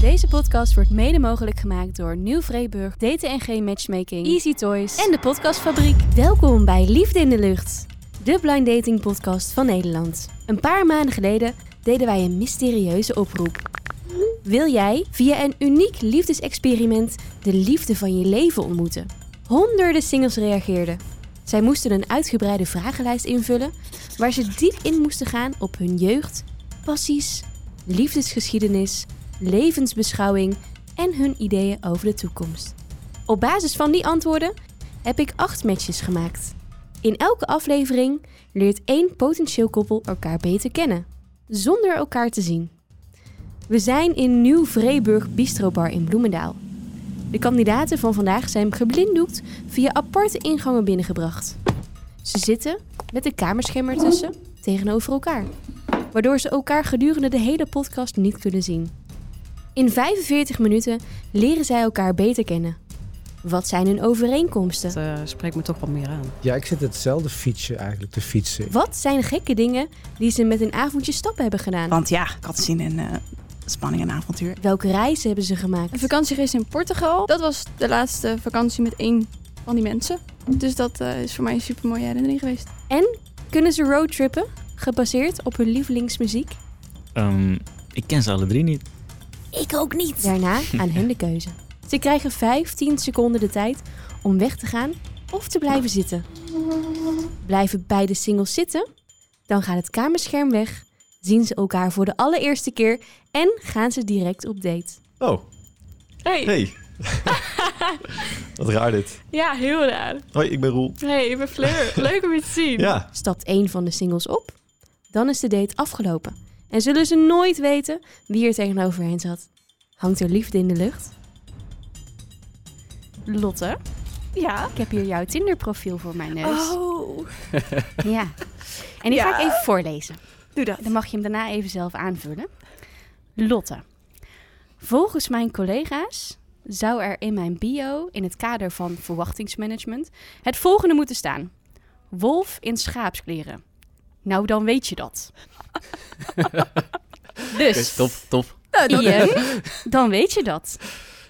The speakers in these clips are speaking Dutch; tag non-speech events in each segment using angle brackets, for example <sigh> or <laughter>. Deze podcast wordt mede mogelijk gemaakt door Nieuw Vreeburg, DTNG Matchmaking, Easy Toys en de Podcastfabriek. Welkom bij Liefde in de Lucht, de blind dating podcast van Nederland. Een paar maanden geleden deden wij een mysterieuze oproep. Wil jij via een uniek liefdesexperiment de liefde van je leven ontmoeten? Honderden singles reageerden. Zij moesten een uitgebreide vragenlijst invullen waar ze diep in moesten gaan op hun jeugd, passies, liefdesgeschiedenis, levensbeschouwing en hun ideeën over de toekomst. Op basis van die antwoorden heb ik acht matches gemaakt. In elke aflevering leert één potentieel koppel elkaar beter kennen, zonder elkaar te zien. We zijn in Nieuw Vreeburg Bistrobar in Bloemendaal. De kandidaten van vandaag zijn geblinddoekt via aparte ingangen binnengebracht. Ze zitten met de kamerschimmer tussen tegenover elkaar, waardoor ze elkaar gedurende de hele podcast niet kunnen zien. In 45 minuten leren zij elkaar beter kennen. Wat zijn hun overeenkomsten? Dat eh, spreekt me toch wat meer aan. Ja, ik zit hetzelfde fietsen eigenlijk te fietsen. Wat zijn gekke dingen die ze met een avondje stappen hebben gedaan? Want ja, ik had zin in eh, spanning en avontuur. Welke reizen hebben ze gemaakt? Een vakantie geweest in Portugal. Dat was de laatste vakantie met één van die mensen. Dus dat eh, is voor mij een super mooie herinnering geweest. Kunnen ze roadtrippen, gebaseerd op hun lievelingsmuziek? Ehm, ik ken ze alle drie niet. Ik ook niet. Daarna aan hun de keuze. Ze krijgen 15 seconden de tijd om weg te gaan of te blijven zitten. Blijven beide singles zitten, dan gaat het kamerscherm weg, zien ze elkaar voor de allereerste keer en gaan ze direct op date. Oh, Hey. hey. Wat raar dit. Ja, heel raar. Hoi, ik ben Roel. Hey, ik ben Fleur. <laughs> Leuk om je te zien. Ja, Stapt één van de singles op, dan is de date afgelopen en zullen ze nooit weten wie er tegenover hen zat. Hangt er liefde in de lucht? Lotte, Ja. ik heb hier jouw Tinder-profiel voor mijn neus. Oh. Ja. En die ga ik even voorlezen. Doe dat. Dan mag je hem daarna even zelf aanvullen. Lotte. Volgens mijn collega's zou er in mijn bio, in het kader van verwachtingsmanagement, het volgende moeten staan. Wolf in schaapskleren. Nou, dan weet je dat. Oké, dus, top, top. Ian, dan weet je dat.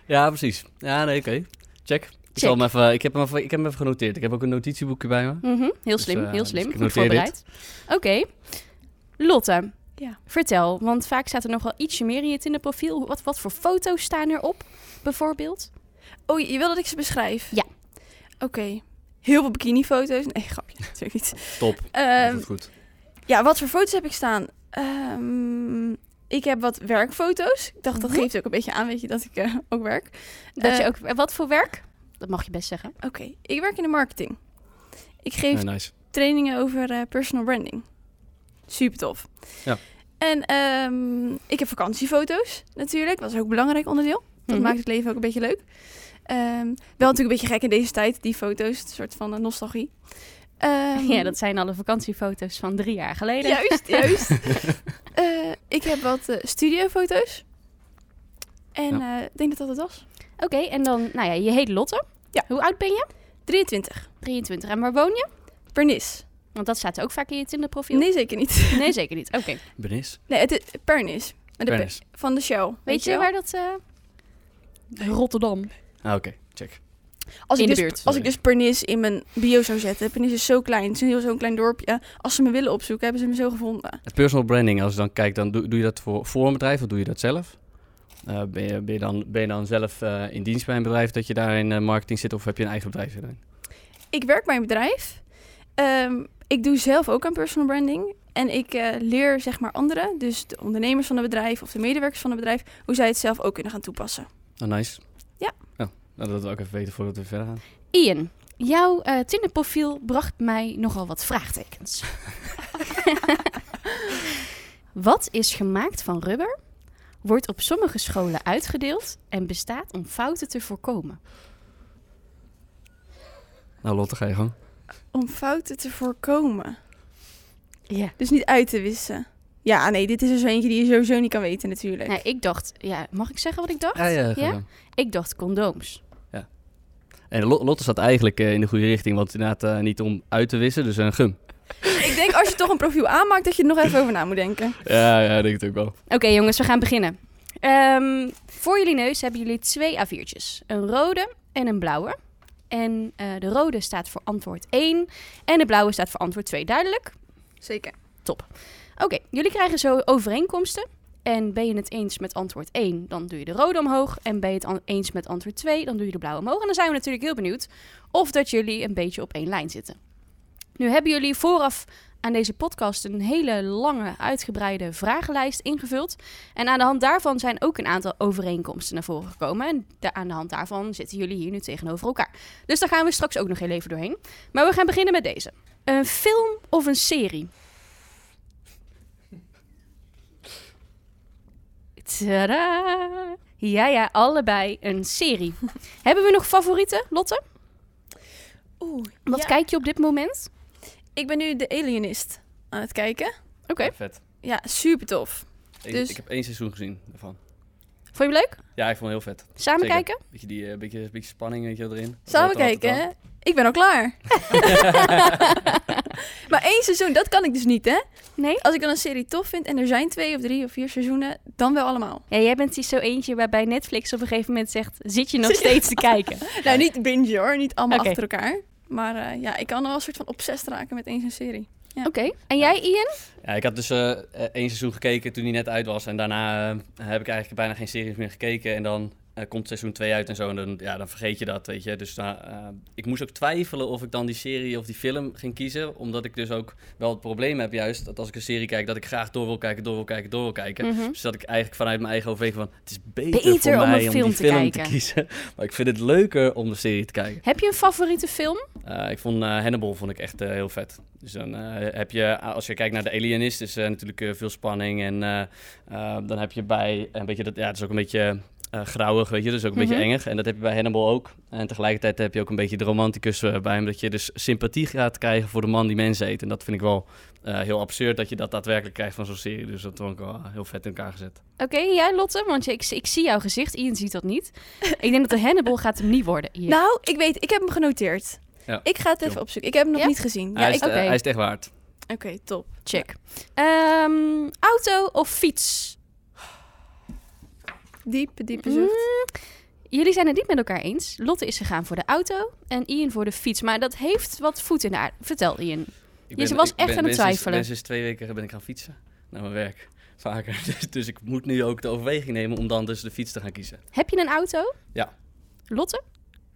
Ja, precies. Ja, nee, oké. Check. Ik, zal hem even, ik, heb hem even, ik heb hem even genoteerd. Ik heb ook een notitieboekje bij me. Mhm, heel Dus, slim, eh, heel dus slim. ik Goed noteer voorbereid. Oké. Lotte, Ja. vertel. Want vaak staat er nog wel ietsje meer in je Tinder-profiel. Wat, wat voor foto's staan erop, bijvoorbeeld? Oh, je wil dat ik ze beschrijf? Ja. Oké. Heel veel bikinifoto's. Nee, grapje. <laughs> Natuurlijk niet. Top. Ehm, Dat is goed. ja, wat voor foto's heb ik staan? Ehm, ik heb wat werkfoto's. Ik dacht, dat Mhm. geeft ook een beetje aan, weet je, dat ik eh, ook werk. Dat Eh, je ook, wat voor werk? Dat mag je best zeggen. Oké, ik werk in de marketing. Ik geef Ja, nice. trainingen over eh, personal branding. Super tof. Ja. En ehm, ik heb vakantiefoto's natuurlijk. Dat is ook een belangrijk onderdeel. Dat Mhm. maakt het leven ook een beetje leuk. Ehm, wel natuurlijk een beetje gek in deze tijd, die foto's. Een soort van eh, nostalgie. Ehm, <laughs> Ja, dat zijn alle vakantiefoto's van drie jaar geleden. Juist, <laughs> juist. Eh, ik heb wat eh, studiofoto's. En eh, ik denk dat dat het was. Oké, en dan, nou ja, je heet Lotte. Ja. Hoe oud ben je? 23. 23. En waar woon je? Pernis. Want dat staat ook vaak in je Tinder-profiel. Nee, zeker niet. Nee, zeker niet. Oké. Benis. <laughs> Nee, het is Pernis. Met de P- Benis. Van de show. Weet, Weet je wel? waar dat... eh, Rotterdam. Ah, oké. Check. Als In ik de dus, buurt. Als ik dus Pernis in mijn bio zou zetten. Pernis is zo klein. Het is een heel zo'n klein dorpje. Als ze me willen opzoeken, hebben ze me zo gevonden. Het personal branding, als je dan kijkt, dan doe, doe je dat voor, voor een bedrijf of doe je dat zelf? Eh, ben, je, ben, je dan, ben je dan zelf eh, in dienst bij een bedrijf dat je daar in eh, marketing zit of heb je een eigen bedrijf? erin? Ik werk bij een bedrijf. Ehm, ik doe zelf ook aan personal branding. En ik eh, leer zeg maar anderen, dus de ondernemers van het bedrijf of de medewerkers van het bedrijf, hoe zij het zelf ook kunnen gaan toepassen. Oh, nice. Ja. Oh, nou, dat we ook even weten voordat we verder gaan. Ian, jouw eh Tinder-profiel bracht mij nogal wat vraagtekens. wat is gemaakt van rubber, wordt op sommige scholen uitgedeeld en bestaat om fouten te voorkomen? Nou, Lotte, ga je gang. Oh, Om fouten te voorkomen. Ja. Dus niet uit te wissen. Ja, nee, dit is er zo eentje die je sowieso niet kan weten natuurlijk. Nou, ik dacht, ja, mag ik zeggen wat ik dacht? Ja, ja, ga Ja? gang. Ik dacht condooms. En Lo- Lotte staat eigenlijk eh, in de goede richting, want inderdaad eh, niet om uit te wissen, dus een gum. Ik denk als je toch een profiel aanmaakt, dat je er nog even over na moet denken. Ja, ja, denk ik ook wel. Oké jongens, we gaan beginnen. Eh, Ehm, voor jullie neus hebben jullie twee A4'tjes. Een rode en een blauwe. En eh, de rode staat voor antwoord 1 en de blauwe staat voor antwoord 2. Duidelijk? Zeker. Oké, jullie krijgen zo overeenkomsten. En ben je het eens met antwoord 1, dan doe je de rode omhoog. En ben je het an- eens met antwoord 2, dan doe je de blauwe omhoog. En dan zijn we natuurlijk heel benieuwd of dat jullie een beetje op één lijn zitten. Nu hebben jullie vooraf aan deze podcast een hele lange, uitgebreide vragenlijst ingevuld. En aan de hand daarvan zijn ook een aantal overeenkomsten naar voren gekomen. En da- aan de hand daarvan zitten jullie hier nu tegenover elkaar. Dus daar gaan we straks ook nog heel even doorheen. Maar we gaan beginnen met deze. Een film of een serie? Tadaa. Ja, ja, allebei een <laughs> serie. Hebben we nog favorieten, Lotte? Oeh, Wat ja. kijk je op dit moment? Ik ben nu de Alienist aan het kijken. Oké, Vet. Ja, super tof. Ik, Dus- ik heb één seizoen gezien daarvan. vond je hem leuk? Ja, ik vond het heel vet. Samen Zeker. kijken? Beetje, die, eh, beetje, beetje spanning weet je, wel, erin. Dat Samen hoort er altijd kijken, wel. hè? Ik ben al <laughs> klaar. <laughs> maar één seizoen, dat kan ik dus niet, hè? Nee? Als ik dan een serie tof vind en er zijn twee of drie of vier seizoenen, dan wel allemaal. Ja, jij bent die zo eentje waarbij Netflix op een gegeven moment zegt... zit je nog steeds te kijken? <laughs> Nou, niet binge hoor, niet allemaal Oké. achter elkaar. Maar eh, ja, ik kan wel een soort van obsessed raken met één zo'n serie. Oké, en jij Ian? Ja, ik had dus eh, eh, één seizoen gekeken toen die net uit was. En daarna eh, heb ik eigenlijk bijna geen series meer gekeken. En dan eh, komt seizoen 2 uit en zo. En dan, ja, dan vergeet je dat, weet je. Dus daar, eh, ik moest ook twijfelen of ik dan die serie of die film ging kiezen. Omdat ik dus ook wel het probleem heb juist... dat als ik een serie kijk, dat ik graag door wil kijken, door wil kijken, door wil kijken. Mhm. Dus dat ik eigenlijk vanuit mijn eigen overweging van... het is beter, Beter voor om mij een om film die te film te kijken. kiezen. <laughs> Maar ik vind het leuker om de serie te kijken. Heb je een favoriete film? Eh, ik vond eh, Hannibal vond ik echt eh, heel vet. Dus dan eh, heb je, als je kijkt naar de Alienist, is eh, natuurlijk eh, veel spanning. En eh, eh, dan heb je bij een beetje dat, ja, het is ook een beetje eh grauwig, weet je, dus ook een Mhm. beetje engig. En dat heb je bij Hannibal ook. En tegelijkertijd heb je ook een beetje de romanticus eh, bij hem, dat je dus sympathie gaat krijgen voor de man die mensen eet. En dat vind ik wel eh, heel absurd dat je dat daadwerkelijk krijgt van zo'n serie. Dus dat vond ik wel heel vet in elkaar gezet. Oké, en jij Lotte? Want je- ik, ik zie jouw gezicht, Ian ziet dat niet. ik denk dat de Hannibal gaat hem niet worden, Ian. Nou, ik weet, ik heb hem genoteerd. Ja. Ik ga het even Chill. opzoeken. Ik heb hem nog Ja? niet gezien. Ja, hij, ik- is, Oké, eh, hij is het echt waard. Oké, top. Check. Ehm, auto of fiets? Diepe, diepe zucht. Mm, Jullie zijn het niet met elkaar eens. Lotte is gegaan voor de auto en Ian voor de fiets. Maar dat heeft wat voet in de aarde. Vertel Ian. Ik Je was echt aan het sinds- twijfelen. ben sinds twee weken ben ik gaan fietsen naar mijn werk. <laughs> Vaker. Dus, dus ik moet nu ook de overweging nemen om dan dus de fiets te gaan kiezen. Heb je een auto? Ja. Lotte,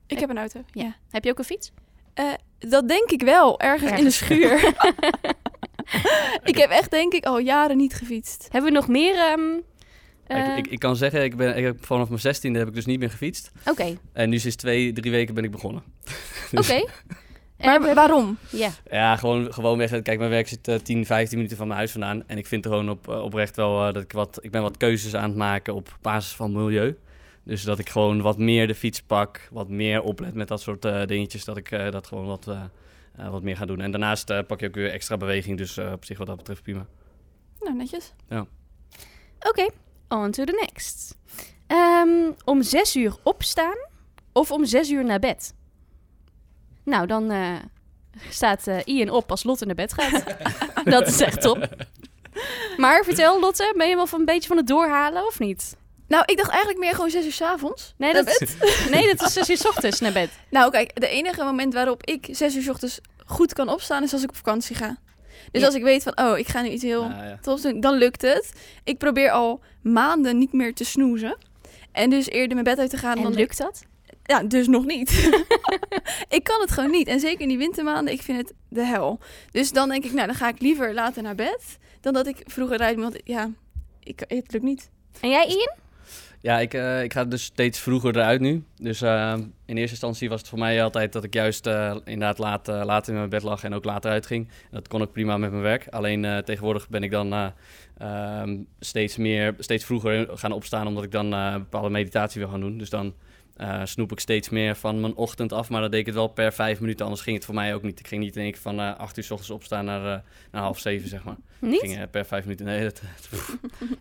Ik heb een auto. Ja. heb je ook een fiets? Eh, dat denk ik wel, ergens in de schuur. <laughs> <laughs> ik heb echt, denk ik, al jaren niet gefietst. Hebben we nog meer? ehm, eh, Ik, ik, ik kan zeggen, ik ben, ik heb, vanaf mijn zestiende heb ik dus niet meer gefietst. eh, Oké, <laughs> En nu sinds twee, drie weken ben ik begonnen. <laughs> Dus oké. En Maar we- waarom? Ja, Ja, gewoon, gewoon weg. Kijk, mijn werk zit eh, 10, 15 minuten van mijn huis vandaan. En ik vind gewoon op, eh, oprecht wel eh, dat ik wat... Ik ben wat keuzes aan het maken op basis van milieu. Dus dat ik gewoon wat meer de fiets pak. Wat meer oplet met dat soort eh, dingetjes. Dat ik eh, dat gewoon wat, eh, eh, wat meer ga doen. En daarnaast eh, pak je ook weer extra beweging. Dus eh, op zich wat dat betreft prima. Nou, netjes. oké. On to the next. Ehm, om zes uur opstaan of om zes uur naar bed? Nou, dan eh, staat eh, Ian op als Lotte naar bed <laughs> gaat. dat is echt top. Maar vertel Lotte, ben je wel van een beetje van het doorhalen of niet? Nou, ik dacht eigenlijk meer gewoon zes uur 's avonds. Nee, Naar dat, nee, dat is zes uur 's ochtends naar bed. Nou, kijk, de enige moment waarop ik zes uur 's ochtends goed kan opstaan is als ik op vakantie ga. Dus Ja. als ik weet van, oh, ik ga nu iets heel Nou ja. tofs doen, dan lukt het. Ik probeer al maanden niet meer te snoezen. En dus eerder mijn bed uit te gaan En dan lukt dat? Ja, dus nog niet. <laughs> ik kan het gewoon niet. En zeker in die wintermaanden, ik vind het de hel. Dus dan denk ik, nou, dan ga ik liever later naar bed dan dat ik vroeger uit Want ja, ik, het lukt niet. En jij Ian? Ja, ik, eh, ik ga dus steeds vroeger eruit nu. Dus eh, in eerste instantie was het voor mij altijd dat ik juist eh, inderdaad laat, eh, laat in mijn bed lag en ook later uitging. En dat kon ik prima met mijn werk. Alleen eh, tegenwoordig ben ik dan eh, ehm, steeds, meer, steeds vroeger gaan opstaan omdat ik dan eh, bepaalde meditatie wil gaan doen. Dus dan eh, snoep ik steeds meer van mijn ochtend af. Maar dat deed ik het wel per vijf minuten, anders ging het voor mij ook niet. Ik ging niet in één keer van eh, acht uur s ochtends opstaan naar, eh, naar half zeven, zeg maar. Niet? Ging, eh, per vijf minuten. Nee, dat, <laughs> dat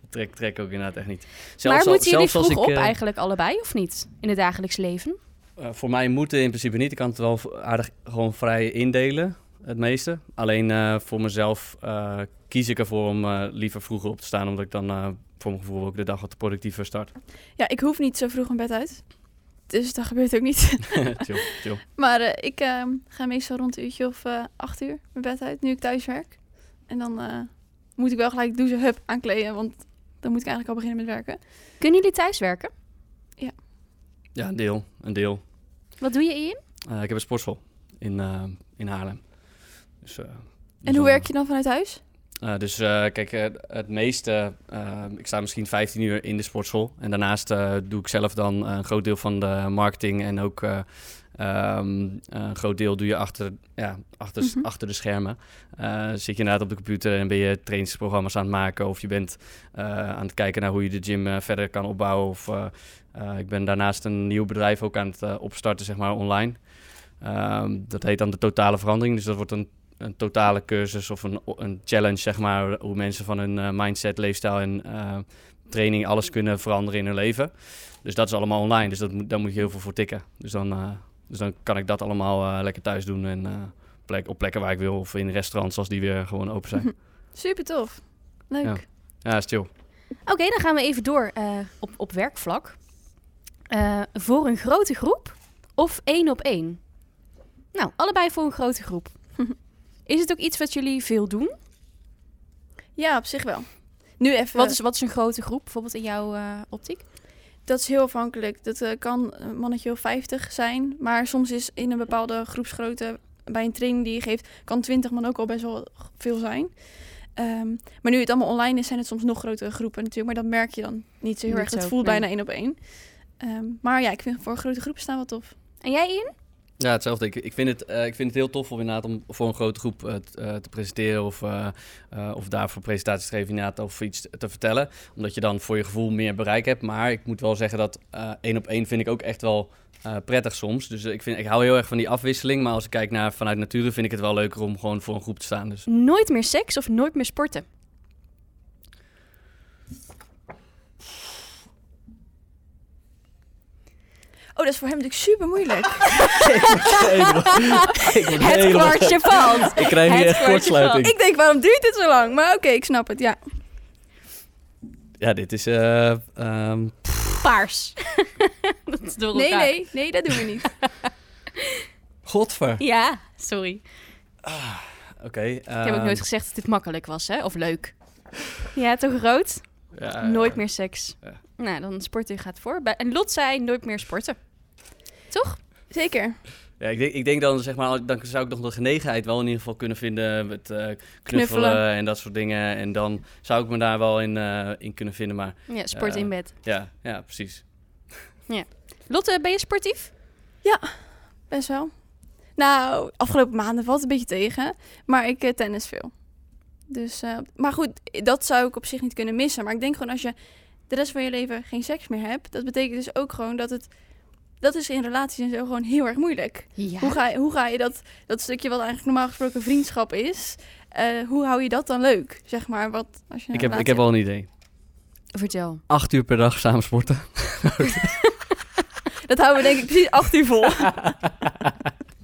trek, trek ik ook inderdaad echt niet. Zelfs maar al- moeten jullie zelfs als vroeg op ik, eh, eigenlijk allebei of niet? In het dagelijks leven? eh, voor mij moeten in principe niet. Ik kan het wel v- aardig gewoon vrij indelen, het meeste. Alleen eh, voor mezelf eh, kies ik ervoor om eh, liever vroeger op te staan, omdat ik dan eh, voor mijn gevoel ook de dag wat productiever <laughs> start. <laughs> Ja, ik hoef niet zo vroeg mijn bed uit. Dus dat gebeurt ook niet. <laughs> chill, chill. maar eh, ik eh, ga meestal rond een uurtje of eh, acht uur mijn bed uit, nu ik thuis werk. En dan eh, moet ik wel gelijk douchen, hup, aankleden, want dan moet ik eigenlijk al beginnen met werken. Kunnen jullie thuiswerken? Ja, een deel. Een deel. Wat doe je in? Eh, ik heb een sportschool in, eh, in Haarlem. Dus, eh, dus En hoe dan- werk je dan vanuit huis? Eh, dus eh, kijk, eh, het meeste, eh, ik sta misschien 15 uur in de sportschool. En daarnaast eh, doe ik zelf dan eh, een groot deel van de marketing. En ook eh, ehm, eh, een groot deel doe je achter, ja, achter, Mhm. achter de schermen. Eh, zit je inderdaad op de computer en ben je trainingsprogramma's aan het maken. Of je bent eh, aan het kijken naar hoe je de gym eh, verder kan opbouwen. Of eh, eh, ik ben daarnaast een nieuw bedrijf ook aan het eh, opstarten, zeg maar, online. Ehm, dat heet dan de totale verandering. Dus dat wordt een een totale cursus of een, een challenge, zeg maar, hoe mensen van hun eh, mindset, leefstijl en eh, training alles kunnen veranderen in hun leven. Dus dat is allemaal online, dus dat moet, daar moet je heel veel voor tikken. Dus dan, eh, dus dan kan ik dat allemaal eh, lekker thuis doen en eh, plek, op plekken waar ik wil of in restaurants als die weer gewoon open zijn. Super tof. Leuk. Ja. ja, is chill. Oké, dan gaan we even door eh, op, op werkvlak. Eh, voor een grote groep of één op één? Nou, allebei voor een grote groep. <laughs> Is het ook iets wat jullie veel doen? Ja, op zich wel. Nu even. Wat is, wat is een grote groep, bijvoorbeeld in jouw eh, optiek? Dat is heel afhankelijk. Dat eh, kan een mannetje of 50 zijn. Maar soms is in een bepaalde groepsgrootte bij een training die je geeft, kan 20 man ook al best wel g- veel zijn. Ehm, maar nu het allemaal online is, zijn het soms nog grotere groepen natuurlijk. Maar dat merk je dan niet zo heel Niet erg. Het zo, voelt nee. bijna één op één. Ehm, maar ja, ik vind voor grote groepen staan wel tof. En jij in? Ja, hetzelfde. Ik, ik, vind het, eh, ik vind het heel tof om inderdaad om voor een grote groep eh, t- eh, te presenteren of, eh eh of daarvoor presentaties te geven inderdaad, of iets te- te vertellen. Omdat je dan voor je gevoel meer bereik hebt. Maar ik moet wel zeggen dat eh, één op één vind ik ook echt wel eh, prettig soms. Dus eh, ik, vind, ik hou heel erg van die afwisseling. Maar als ik kijk naar vanuit nature vind ik het wel leuker om gewoon voor een groep te staan. Dus Nooit meer seks of nooit meer <laughs> sporten? Oh, dat is voor hem natuurlijk super moeilijk. Het kwartje valt. <laughs> Ik krijg Het hier echt kwartje kortsluiting. ik denk, waarom duurt dit zo lang? Maar oké, ik snap het. Ja, Ja, dit is... eh, ehm, Paars. <laughs> dat is door nee, elkaar. nee, nee, dat doen we <laughs> niet. Godver. Ja, sorry. Ik Oké. heb ook ehm, nooit gezegd dat dit makkelijk was, hè? Of leuk. Ja, toch rood? ja, nooit meer seks. Ja. Nou, dan sporten gaat voor. Bij- En Lot zei nooit meer sporten. Zeker. Ja, ik denk, ik denk dan, zeg maar, dan zou ik nog de genegenheid wel in ieder geval kunnen vinden met eh, knuffelen, Knuffelen. en dat soort dingen. En dan zou ik me daar wel in, eh, in kunnen vinden, maar Ja, sport Ja. in bed. ja, ja precies. Lotte, ben je sportief? Best wel. Nou, afgelopen maanden valt het een beetje tegen. Maar ik eh, tennis veel. Dus, eh, maar goed, dat zou ik op zich niet kunnen missen. Maar ik denk gewoon als je de rest van je leven geen seks meer hebt... dat betekent dus ook gewoon dat het... Dat is in relaties en zo gewoon heel erg moeilijk. Ja. Hoe, ga je, hoe ga je dat, dat stukje wat eigenlijk normaal gesproken vriendschap is... eh, hoe hou je dat dan leuk, zeg maar? Wat, als je een ik, heb, ik relatie heb wel een idee. Vertel. Acht uur per dag samen sporten. hebt. Dat houden we denk ik precies acht uur <laughs> vol.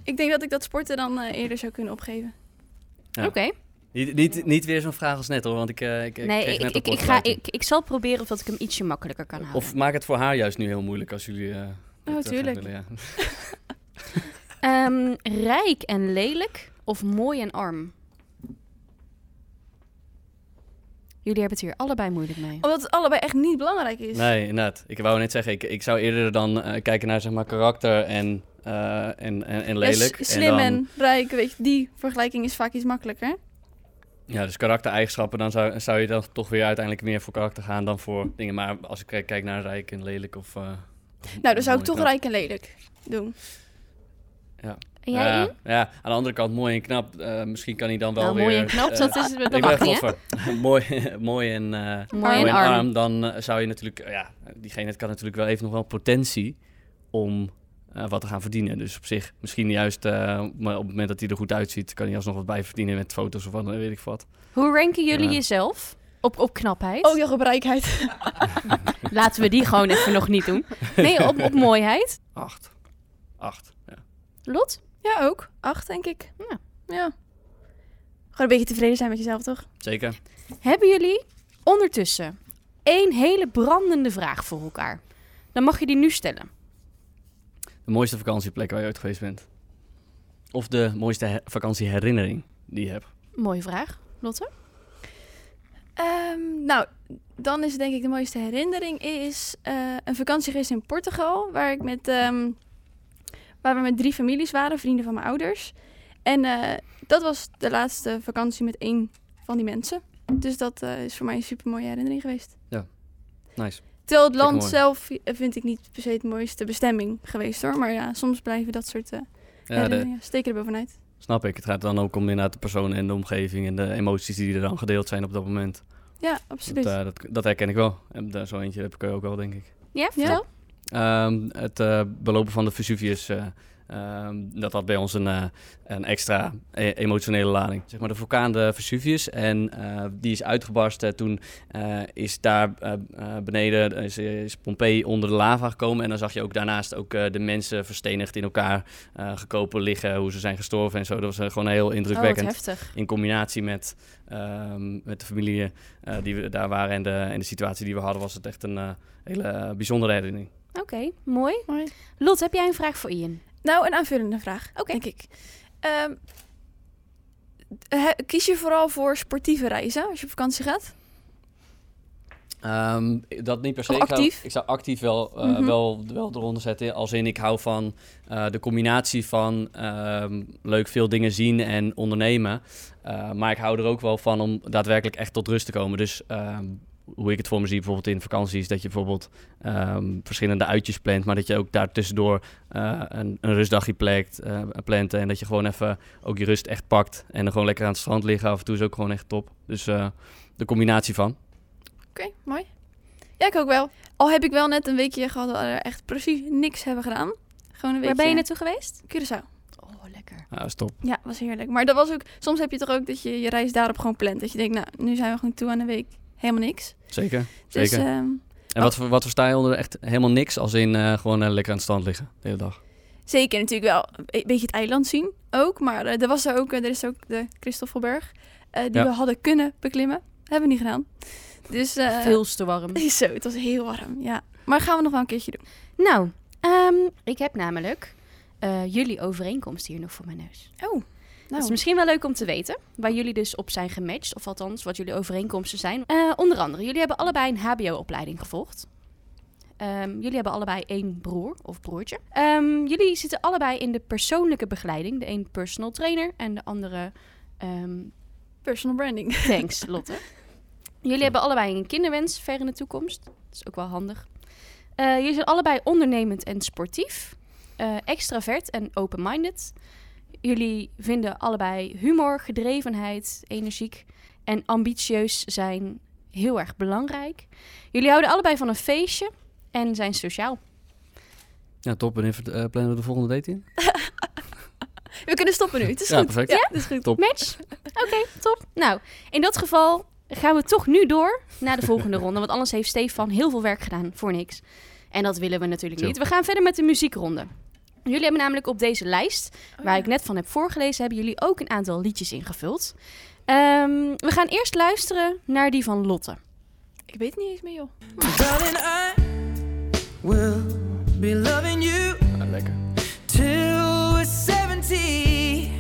ik denk dat ik dat sporten dan eh, eerder zou kunnen opgeven. Ja. Oké. Niet, niet, niet weer zo'n vraag als net hoor, want ik, eh, ik, ik Nee, kreeg ik, ik, net een ik, ga, kortsluiting. ik, ik zal proberen of dat ik hem ietsje makkelijker kan houden. Of maak het voor haar juist nu heel moeilijk als jullie... eh, dit, eh, tuurlijk. gaan willen, ja. Ehm, rijk en lelijk of mooi en arm? Jullie hebben het hier allebei moeilijk mee. Omdat het allebei echt niet belangrijk is. Nee, inderdaad. Ik wou net zeggen, ik, ik zou eerder dan eh, kijken naar zeg maar karakter en, eh, en, en, en Ja, s- lelijk. slim en, en dan- rijk, weet je, die vergelijking is vaak iets makkelijker. Ja, dus karaktereigenschappen, dan zou, zou je dan toch weer uiteindelijk meer voor karakter gaan dan voor dingen. Maar als ik kijk, kijk naar rijk en lelijk of... eh, of- Nou, dan of zou ik toch mooi en knap. rijk en lelijk doen. En jij ja, in? ja, aan de andere kant mooi en knap. eh, misschien kan hij dan wel nou, weer... mooi en knap, eh, dat, <laughs> is, dat ik mag ben niet, hè? godver. <laughs> mooi, mooi en, eh, Mooi en mooi en arm. arm. Dan eh, zou je natuurlijk... eh, ja, diegene het kan natuurlijk wel even nog wel potentie om eh, wat te gaan verdienen. Dus op zich, misschien juist eh, maar op het moment dat hij er goed uitziet... kan hij alsnog wat bij verdienen met foto's of wat, eh, weet ik wat. Hoe ranken jullie Ja. jezelf? Op, op knapheid? Oh, ja, op rijkheid. Laten we die gewoon even nog niet doen. Nee, op, op mooiheid. Acht. Acht, ja. Lot? <laughs> Ja, ook. Acht, denk ik. Ja. ja. Gewoon een beetje tevreden zijn met jezelf, toch? Zeker. Hebben jullie ondertussen één hele brandende vraag voor elkaar. Dan mag je die nu stellen. De mooiste vakantieplek waar je ooit geweest bent. Of de mooiste he- vakantieherinnering die je hebt. Mooie vraag, Lotte. Ehm, nou, dan is denk ik de mooiste herinnering is eh, een vakantie geweest in Portugal, waar ik met ehm, waar we met drie families waren, vrienden van mijn ouders. En eh, dat was de laatste vakantie met één van die mensen. Dus dat eh, is voor mij een super mooie herinnering geweest. Nice. Terwijl het Vind ik land mooi. zelf eh, vind ik niet per se het mooiste bestemming geweest hoor. Maar ja, soms blijven dat soort eh Ja, de- herinneringen steken er bovenuit. snap ik. Het gaat dan ook om inderdaad de personen en de omgeving en de emoties die er dan gedeeld zijn op dat moment. Ja, Dat, absoluut. eh, dat, dat herken ik wel. En daar zo eentje heb ik ook wel, denk ik. Ja, ja. vertel. Ehm, het eh, belopen van de Vesuvius, eh, ehm, dat had bij ons een, eh, een extra e- emotionele lading. Zeg maar de vulkaan de Vesuvius en eh, die is uitgebarsten. Toen eh, is daar eh, eh, beneden is, is Pompeii onder de lava gekomen. En dan zag je ook daarnaast ook eh, de mensen verstenigd in elkaar eh gekopen liggen. Hoe ze zijn gestorven en zo. Dat was eh, gewoon heel Oh, wat indrukwekkend heftig. in combinatie met, ehm, met de familie eh, die we daar waren en de, en de situatie die we hadden, was het echt een eh, hele eh, bijzondere herinnering. Oké, mooi. Mooi. Lot, heb jij een vraag voor Ian? Nou, een aanvullende vraag, denk ik. Ehm, he- kies je vooral voor sportieve reizen als je op vakantie gaat? Ehm, dat niet per se. Of Ik zou- Ik actief? zou, actief wel, eh, Mhm. wel, wel eronder zetten. Als in, ik hou van eh, de combinatie van ehm, leuk veel dingen zien en ondernemen. Eh, maar ik hou er ook wel van om daadwerkelijk echt tot rust te komen. Dus ehm, hoe ik het voor me zie bijvoorbeeld in vakanties, dat je bijvoorbeeld ehm, verschillende uitjes plant, maar dat je ook daartussendoor eh een, een rustdagje plakt, eh, plant en dat je gewoon even ook je rust echt pakt en dan gewoon lekker aan het strand liggen af en toe is ook gewoon echt top. Dus eh, de combinatie van. Oké, mooi. Ja, ik ook wel. Al heb ik wel net een weekje gehad waar we echt precies niks hebben gedaan. Gewoon een weekje. Waar ben je naartoe geweest? Curaçao. Oh, lekker. Ja, dat eh, is top. Ja, was heerlijk. Maar dat was ook, soms heb je toch ook dat je je reis daarop gewoon plant. Dat je denkt, nou, nu zijn we gewoon toe aan een week. Helemaal niks. Zeker, Dus zeker. ehm, en wat, voor- wat versta je onder echt helemaal niks als in eh, gewoon eh, lekker aan het strand liggen de hele dag? zeker natuurlijk wel een beetje het eiland zien ook. Maar eh, er, was er, ook, eh, er is ook de Christoffelberg eh, die Ja. we hadden kunnen beklimmen. Hebben we niet gedaan. Dus eh, Veel te warm. <laughs> Zo, het was heel warm, ja. Maar gaan we nog wel een keertje doen. Nou, ehm, ik heb namelijk eh, jullie overeenkomst hier nog voor mijn neus. Oh, Dat is Dus misschien wel leuk om te weten. Waar jullie dus op zijn gematcht. Of althans, wat jullie overeenkomsten zijn. Eh, onder andere, jullie hebben allebei een HBO-opleiding gevolgd. Ehm, jullie hebben allebei één broer of broertje. Ehm, jullie zitten allebei in de persoonlijke begeleiding. De een personal trainer en de andere... ehm, personal branding. <laughs> thanks, Lotte. Jullie hebben allebei een kinderwens ver in de toekomst. Dat is ook wel handig. Eh, jullie zijn allebei ondernemend en sportief. eh, extravert en open-minded. Jullie vinden allebei humor, gedrevenheid, energiek en ambitieus zijn heel erg belangrijk. Jullie houden allebei van een feestje en zijn sociaal. Ja, top. En even plannen we de volgende date in? We kunnen stoppen nu, het is Ja, goed. perfect. het is goed. Top. Match? Oké, top. Nou, in dat geval gaan we toch nu door naar de volgende ronde. Want anders heeft Stefan heel veel werk gedaan voor niks. En dat willen we natuurlijk Chill. niet. We gaan verder met de muziekronde. Jullie hebben namelijk op deze lijst, Oh waar ik net van heb voorgelezen, hebben jullie ook een aantal liedjes ingevuld. Ehm, we gaan eerst luisteren naar die van Lotte. Ik weet het niet eens meer, joh. Darling, I will be loving you Ah, lekker. till we're 70.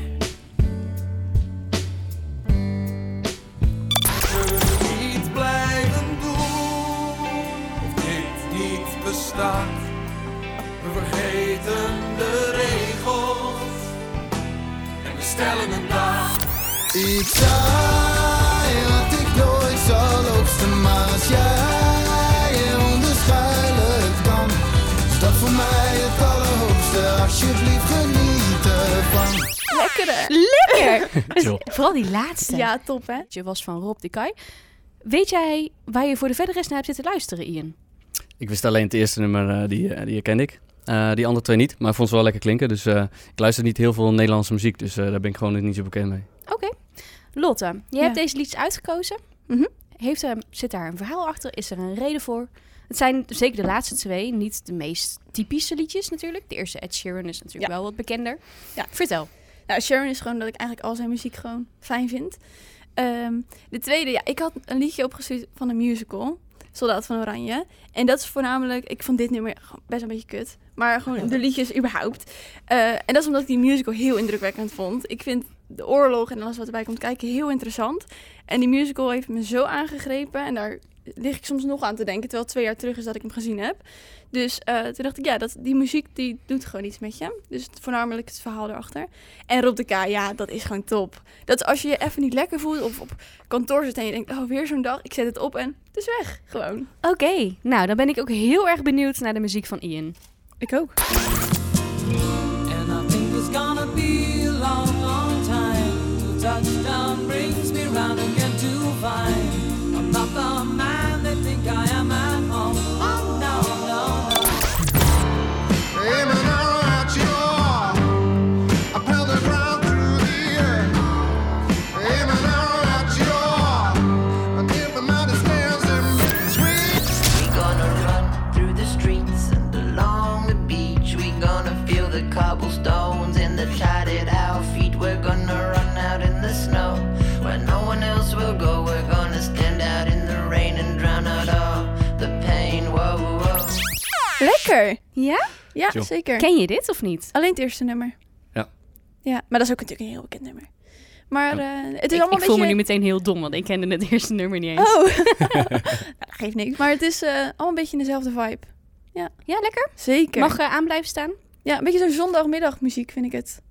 Zullen we niet blijven doen of dit niet bestaat? We vergeten de regels en we stellen een daad. Ik zei dat ik nooit zal oogsten, maar als jij er onder schuilen kan, is dat voor mij het allerhoogste. Alsjeblieft geniet ervan. Lekker, <laughs> Lekker! Chill. Dus Vooral die laatste. Ja, top, hè? Je was van Rob de Kai. Weet jij waar je voor de verdere rest naar hebt zitten luisteren, Ian? Ik wist alleen het eerste nummer, eh, die, eh, die herkende ik. Eh, die andere twee niet, maar ik vond ze wel lekker klinken. Dus eh, ik luister niet heel veel Nederlandse muziek, dus eh, daar ben ik gewoon niet zo bekend mee. Oké. Lotte, jij Ja. hebt deze liedjes uitgekozen. Mhm. Heeft er, zit daar een verhaal achter? Is er een reden voor? Het zijn zeker de laatste twee niet de meest typische liedjes natuurlijk. De eerste Ed Sheeran is natuurlijk wel wat bekender. Ja. Vertel. Nou, Sharon is gewoon dat ik eigenlijk al zijn muziek gewoon fijn vind. Ehm, de tweede, ja, ik had een liedje opgestuurd van een musical. Soldaat van Oranje. En dat is voornamelijk, ik vond dit nummer gewoon best een beetje kut. Maar gewoon de liedjes überhaupt. Eh, en dat is omdat ik die musical heel indrukwekkend vond. Ik vind de oorlog en alles wat erbij komt kijken heel interessant. En die musical heeft me zo aangegrepen. En daar lig ik soms nog aan te denken, terwijl het twee jaar terug is dat ik hem gezien heb. Dus eh, toen dacht ik, ja, dat, die muziek die doet gewoon iets met je. Dus het- voornamelijk het verhaal erachter. En Rob de K, ja, dat is gewoon top. Dat is als je je even niet lekker voelt of op kantoor zit en je denkt, oh, weer zo'n dag. Ik zet het op en het is weg, gewoon. Oké, nou dan ben ik ook heel erg benieuwd naar de muziek van Ian. Ik ook. And I think it's gonna be a long, long time till touchdown brings me round again to find I'm not the man they think I am at home. Oh no, no, no. We gonna run through the streets and along the beach. We gonna feel the cobblestones and the tide at our feet. We're gonna run out in the snow where no one else will go. We're gonna stand out in the rain and drown out all the pain. Whoa, whoa. Lekker! Ja? Ja, Chill. zeker. Ken je dit of niet? Alleen het eerste nummer. Ja. Ja, maar dat is ook natuurlijk een heel bekend nummer. Maar eh, het is ik allemaal ik een voel me beetje... nu meteen heel dom, want ik kende het <laughs> eerste nummer niet eens. Oh, <laughs> Nou, dat geeft niks. Maar het is eh, allemaal een beetje in dezelfde vibe. Ja, lekker. Zeker. Mag eh, aan blijven staan? Ja, een beetje zo'n zondagmiddagmuziek vind ik het.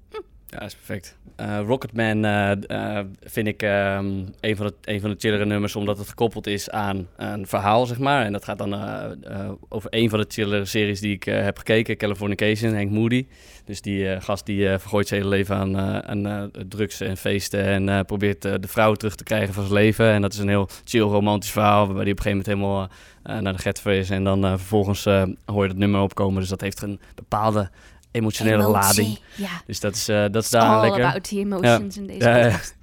Ja, is perfect. Eh, Rocketman eh, eh, vind ik ehm, een, van de, een van de chillere nummers, omdat het gekoppeld is aan een verhaal, zeg maar. En dat gaat dan eh, eh, over een van de chillere series die ik eh, heb gekeken, Californication, Hank Moody. Dus die eh, gast die eh, vergooit zijn hele leven aan, eh, aan eh, drugs en feesten en eh, probeert eh, de vrouw terug te krijgen van zijn leven. En dat is een heel chill romantisch verhaal, waarbij die op een gegeven moment helemaal eh, naar de getver is. En dan eh, vervolgens eh, hoor je dat nummer opkomen, dus dat heeft een bepaalde emotionele lading. Ja. Dus dat is, eh, dat is daar All lekker. about the emotions in deze Ja, ja. podcast.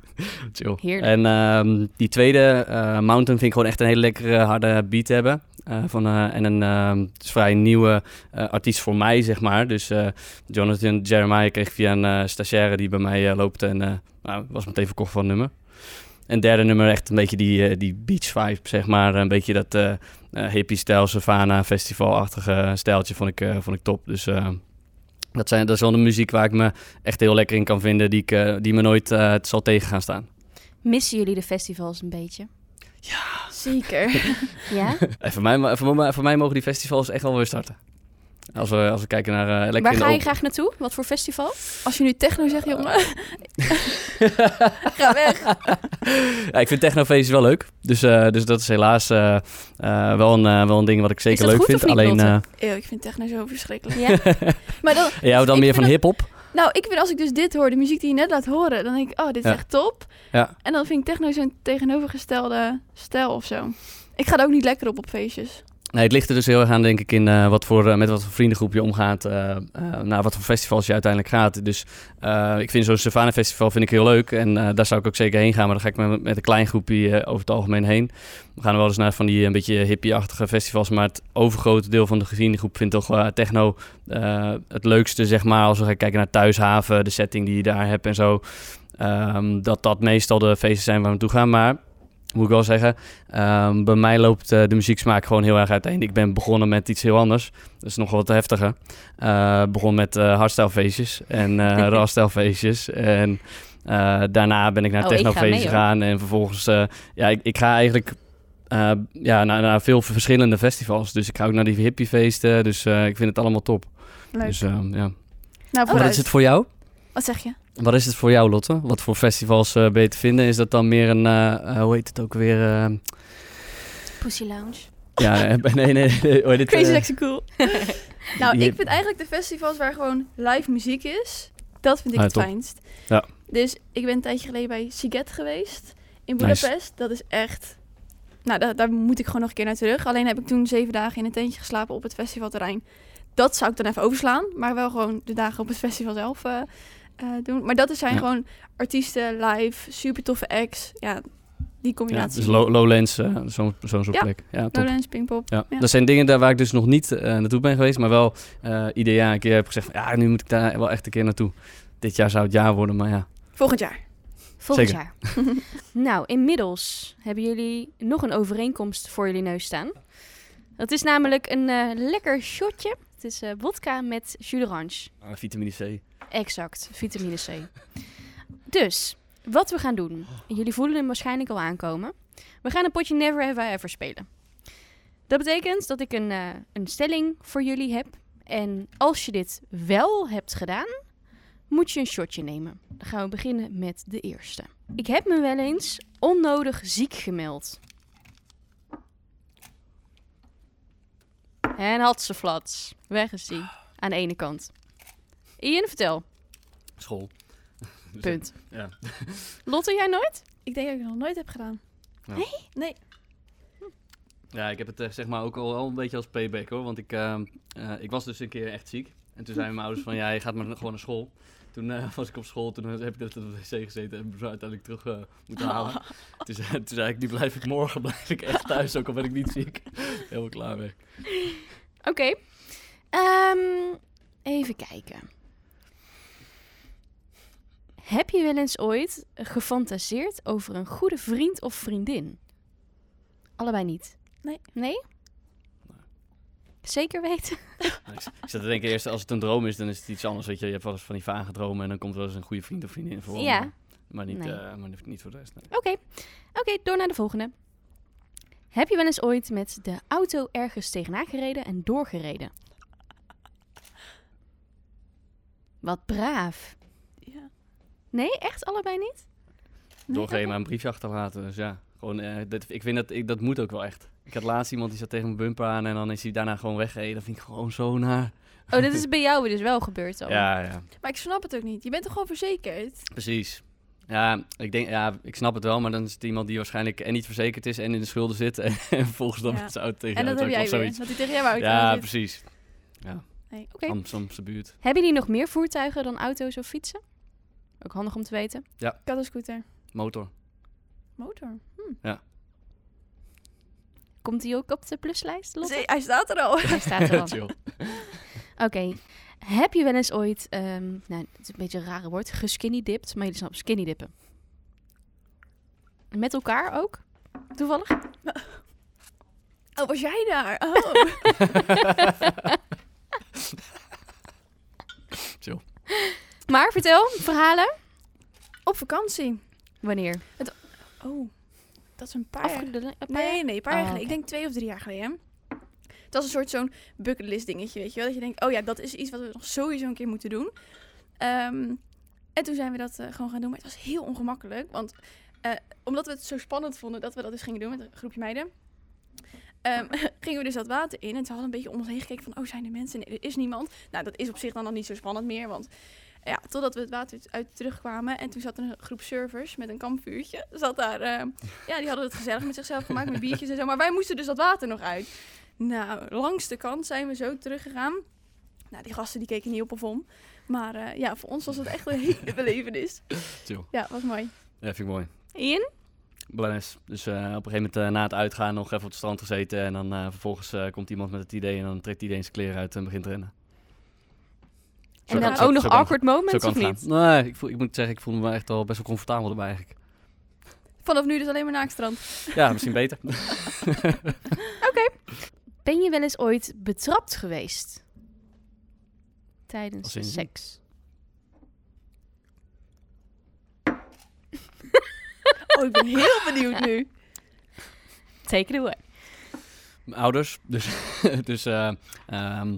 Chill. Heerlijk. En ehm, die tweede, eh, Mountain, vind ik gewoon echt een hele lekkere harde beat hebben. Eh, van, eh, en een ehm, het is vrij nieuwe eh, artiest voor mij, zeg maar. Dus eh, Jonathan Jeremiah kreeg ik via een eh, stagiaire die bij mij eh, loopt. En eh, nou, was meteen verkocht van het nummer. En derde nummer echt een beetje die, eh, die beach vibe, zeg maar. Een beetje dat eh eh, hippie-stijl, savannah, festivalachtige stijltje vond ik, eh, vond ik top. Dus eh, dat, zijn, dat is wel de muziek waar ik me echt heel lekker in kan vinden. Die, ik, eh, die me nooit eh, zal tegen gaan staan. Missen jullie de festivals een beetje? Zeker. <laughs> Ja? Eh, voor, mij, ma- voor, mij- voor mij mogen die festivals echt wel weer starten. Als we, als we kijken naar eh lekker Waar in de ga je open- graag naartoe? Wat voor festival? Als je nu techno zegt, <laughs> jongen. Ga weg. <laughs> Ja, ik vind technofeest wel leuk. Dus, eh, dus dat is helaas eh, eh, wel, een, eh, wel een ding wat ik zeker dat leuk goed vind. of niet, Alleen, Lotte? Eeuw, ik vind techno zo verschrikkelijk. <laughs> <laughs> Ja. Maar dan, eh, jij houdt dan Ik vind meer van het- hip-hop. nou, ik vind als ik dus dit hoor, de muziek die je net laat horen, dan denk ik, oh, dit is Ja. echt top. Ja. En dan vind ik techno zo'n tegenovergestelde stijl of zo. Ik ga er ook niet lekker op op feestjes. Nee, het ligt er dus heel erg aan, denk ik, in eh, wat voor, eh, met wat voor vriendengroep je omgaat. eh, eh, naar wat voor festivals je uiteindelijk gaat. Dus eh, ik vind zo'n Savannah Festival vind ik heel leuk. En eh, daar zou ik ook zeker heen gaan. Maar dan ga ik met, met een klein groepje eh, over het algemeen heen. We gaan wel eens naar van die eh, een beetje hippie-achtige festivals. Maar het overgrote deel van de vriendengroep vindt toch eh, techno eh, het leukste, zeg maar. Als we gaan kijken naar Thuishaven, de setting die je daar hebt en zo. Ehm, dat dat meestal de feesten zijn waar we naartoe gaan. Maar moet ik wel zeggen, ehm, bij mij loopt eh, de muzieksmaak gewoon heel erg uiteen. Ik ben begonnen met iets heel anders. Dat is nog wat heftiger. Eh, begon met eh hardstylefeestjes en eh rasstylefeestjes. En eh, daarna ben ik naar Oh, ik ga technofeestjes mee, hoor. gegaan. En vervolgens, eh, ja, ik, ik ga eigenlijk eh, ja, naar, naar veel verschillende festivals. Dus ik ga ook naar die hippiefeesten. Dus eh, ik vind het allemaal top. Leuk. Dus, ehm, ja. nou, Wat vooruit. is het voor jou? Wat zeg je? Wat is het voor jou, Lotte? Wat voor festivals eh, ben je te vinden? Is dat dan meer een, eh, eh, hoe heet het ook weer? eh, Pussy Lounge. <laughs> ja, <laughs> eh, nee, nee, nee. hoe heet het, Crazy eh, Sexy Cool. nou, Je- ik vind eigenlijk de festivals waar gewoon live muziek is, dat vind ik Ah, het top. fijnst. Ja. Dus ik ben een tijdje geleden bij Siget geweest in Nice. Budapest. Dat is echt... Nou, da- daar moet ik gewoon nog een keer naar terug. Alleen heb ik toen zeven dagen in een tentje geslapen op het festivalterrein. Dat zou ik dan even overslaan, maar wel gewoon de dagen op het festival zelf eh, eh, doen. Maar dat zijn Ja. gewoon artiesten, live, super toffe acts. Ja, die ja, combinatie. dus Low- Lowlands, eh, zo'n zo'n soort Ja. plek. Ja, top. Lowlands, Pinkpop. Ja. Ja. Dat zijn dingen daar waar ik dus nog niet eh, naartoe ben geweest, maar wel eh ieder jaar een keer heb gezegd van, ja, nu moet ik daar wel echt een keer naartoe. Dit jaar zou het jaar worden, maar ja. Volgend jaar. Volgend Zeker. jaar. <laughs> nou, inmiddels hebben jullie nog een overeenkomst voor jullie neus staan. Dat is namelijk een eh, lekker shotje. Het is eh vodka met jus d'orange. Ah, vitamine C. Exact, vitamine C. Dus, wat we gaan doen. Jullie voelen hem waarschijnlijk al aankomen. We gaan een potje Never Have I Ever spelen. Dat betekent dat ik een, eh, een stelling voor jullie heb. En als je dit wel hebt gedaan, moet je een shotje nemen. Dan gaan we beginnen met de eerste. Ik heb me wel eens onnodig ziek gemeld. En had ze flats. Weg is die. Aan de ene kant. Ian, vertel. School. Dus Punt. ja. Lotte, jij nooit? Ik denk dat ik het nog nooit heb gedaan. Ja, ik heb het eh, zeg maar ook al, al een beetje als payback hoor. Want ik, ehm, eh, ik was dus een keer echt ziek. En toen zeiden mijn ouders van, ja, je gaat maar gewoon naar school. Toen eh, was ik op school, toen heb ik net op de wc gezeten en heb ik uiteindelijk terug eh, moeten halen. Toen, zei- toen zei ik, nu blijf ik morgen, <laughs> blijf ik echt thuis, ook al ben ik niet ziek. Helemaal klaar mee. Oké. Ehm, even kijken. Heb je wel eens ooit gefantaseerd over een goede vriend of vriendin? Allebei niet. Nee. Nee? Zeker weten. Nou, Ik, ik zat te denken eerst, als het een droom is, dan is het iets anders. Weet je, je hebt wel eens van die vage dromen en dan komt wel eens een goede vriend of vriendin voor. Ja. maar- Maar niet, Nee. eh, maar niet voor de rest. nee. Oké. Oké, door naar de volgende. Heb je wel eens ooit met de auto ergens tegenaan gereden en doorgereden? Wat braaf. Ja. Nee, echt allebei niet? doorgeven maar een briefje achterlaten. Dus ja, gewoon, eh, dit, ik vind dat, ik, dat moet ook wel echt. Ik had laatst iemand die zat tegen mijn bumper aan en dan is hij daarna gewoon weggereden. Dat vind ik gewoon zo naar. Oh, dit is bij jou dus wel gebeurd dan? <laughs> Ja, ja, Maar ik snap het ook niet. Je bent toch gewoon verzekerd? precies. Ja, ik denk, ja, ik snap het wel, maar dan is het iemand die waarschijnlijk en niet verzekerd is en in de schulden zit <laughs> en volgens dan Ja. met zijn auto tegen en jou dat heb drukt jij of weer. Dat hij tegen jou wou. Ja, zit. precies. Ja, Nee, Oké. Amsterdamse buurt. Hebben jullie nog meer voertuigen dan auto's of fietsen? Ook handig om te weten. Kattenscooter. Motor. Motor. Hm, Komt die ook op de pluslijst? Lotte? Zee, hij staat er al. Hij staat er al. <laughs> Chill. <laughs> Oké. Heb je wel eens ooit, ehm, nou, het is een beetje een rare woord, geskinny dipt, maar jullie snappen skinny dippen. Met elkaar <laughs> ook? Toevallig? Oh, was jij daar? Oh. Maar vertel, verhalen. <laughs> Op vakantie. Wanneer? Oh, dat is een paar jaar Afgelopen een paar Nee, jaar? nee, een paar jaar Oh, geleden. oké. Ik denk twee of drie jaar geleden. Het was een soort zo'n bucketlist dingetje, weet je wel. Dat je denkt, oh ja, dat is iets wat we nog sowieso een keer moeten doen. Ehm, en toen zijn we dat eh, gewoon gaan doen. Maar het was heel ongemakkelijk. Want eh, omdat we het zo spannend vonden dat we dat dus gingen doen met een groepje meiden... ehm, <laughs> gingen we dus dat water in en ze hadden een beetje om ons heen gekeken van... oh, zijn er mensen? Nee, er is niemand. Nou, dat is op zich dan nog niet zo spannend meer, want... Ja, totdat we het water uit terugkwamen en toen zat er een groep surfers met een kampvuurtje. Zat daar ehm, ja, die hadden het gezellig met zichzelf gemaakt, met biertjes en zo. Maar wij moesten dus dat water nog uit. Nou, langs de kant zijn we zo teruggegaan. Nou, die gasten die keken niet op of om. Maar eh, ja, voor ons was het echt een hele belevenis. Chill. Ja, was mooi. Ja, vind ik mooi. Ian? Blanes. Dus eh, op een gegeven moment eh, na het uitgaan nog even op het strand gezeten. En dan eh, vervolgens eh, komt iemand met het idee en dan trekt iedereen zijn kleren uit en begint te rennen. Zo En kan- dan zo- ook nog zo kan- awkward zo moments kan of het niet? gaan. Nee, ik, voel, ik moet zeggen, ik voel me echt al best wel comfortabel erbij eigenlijk. Vanaf nu dus alleen maar naakstrand. Ja, misschien <laughs> beter. <laughs> Ben je wel eens ooit betrapt geweest? Tijdens Als in? seks. Oh, ik ben heel benieuwd nu. Take it away. Mijn ouders, dus... <laughs> dus eh, ehm,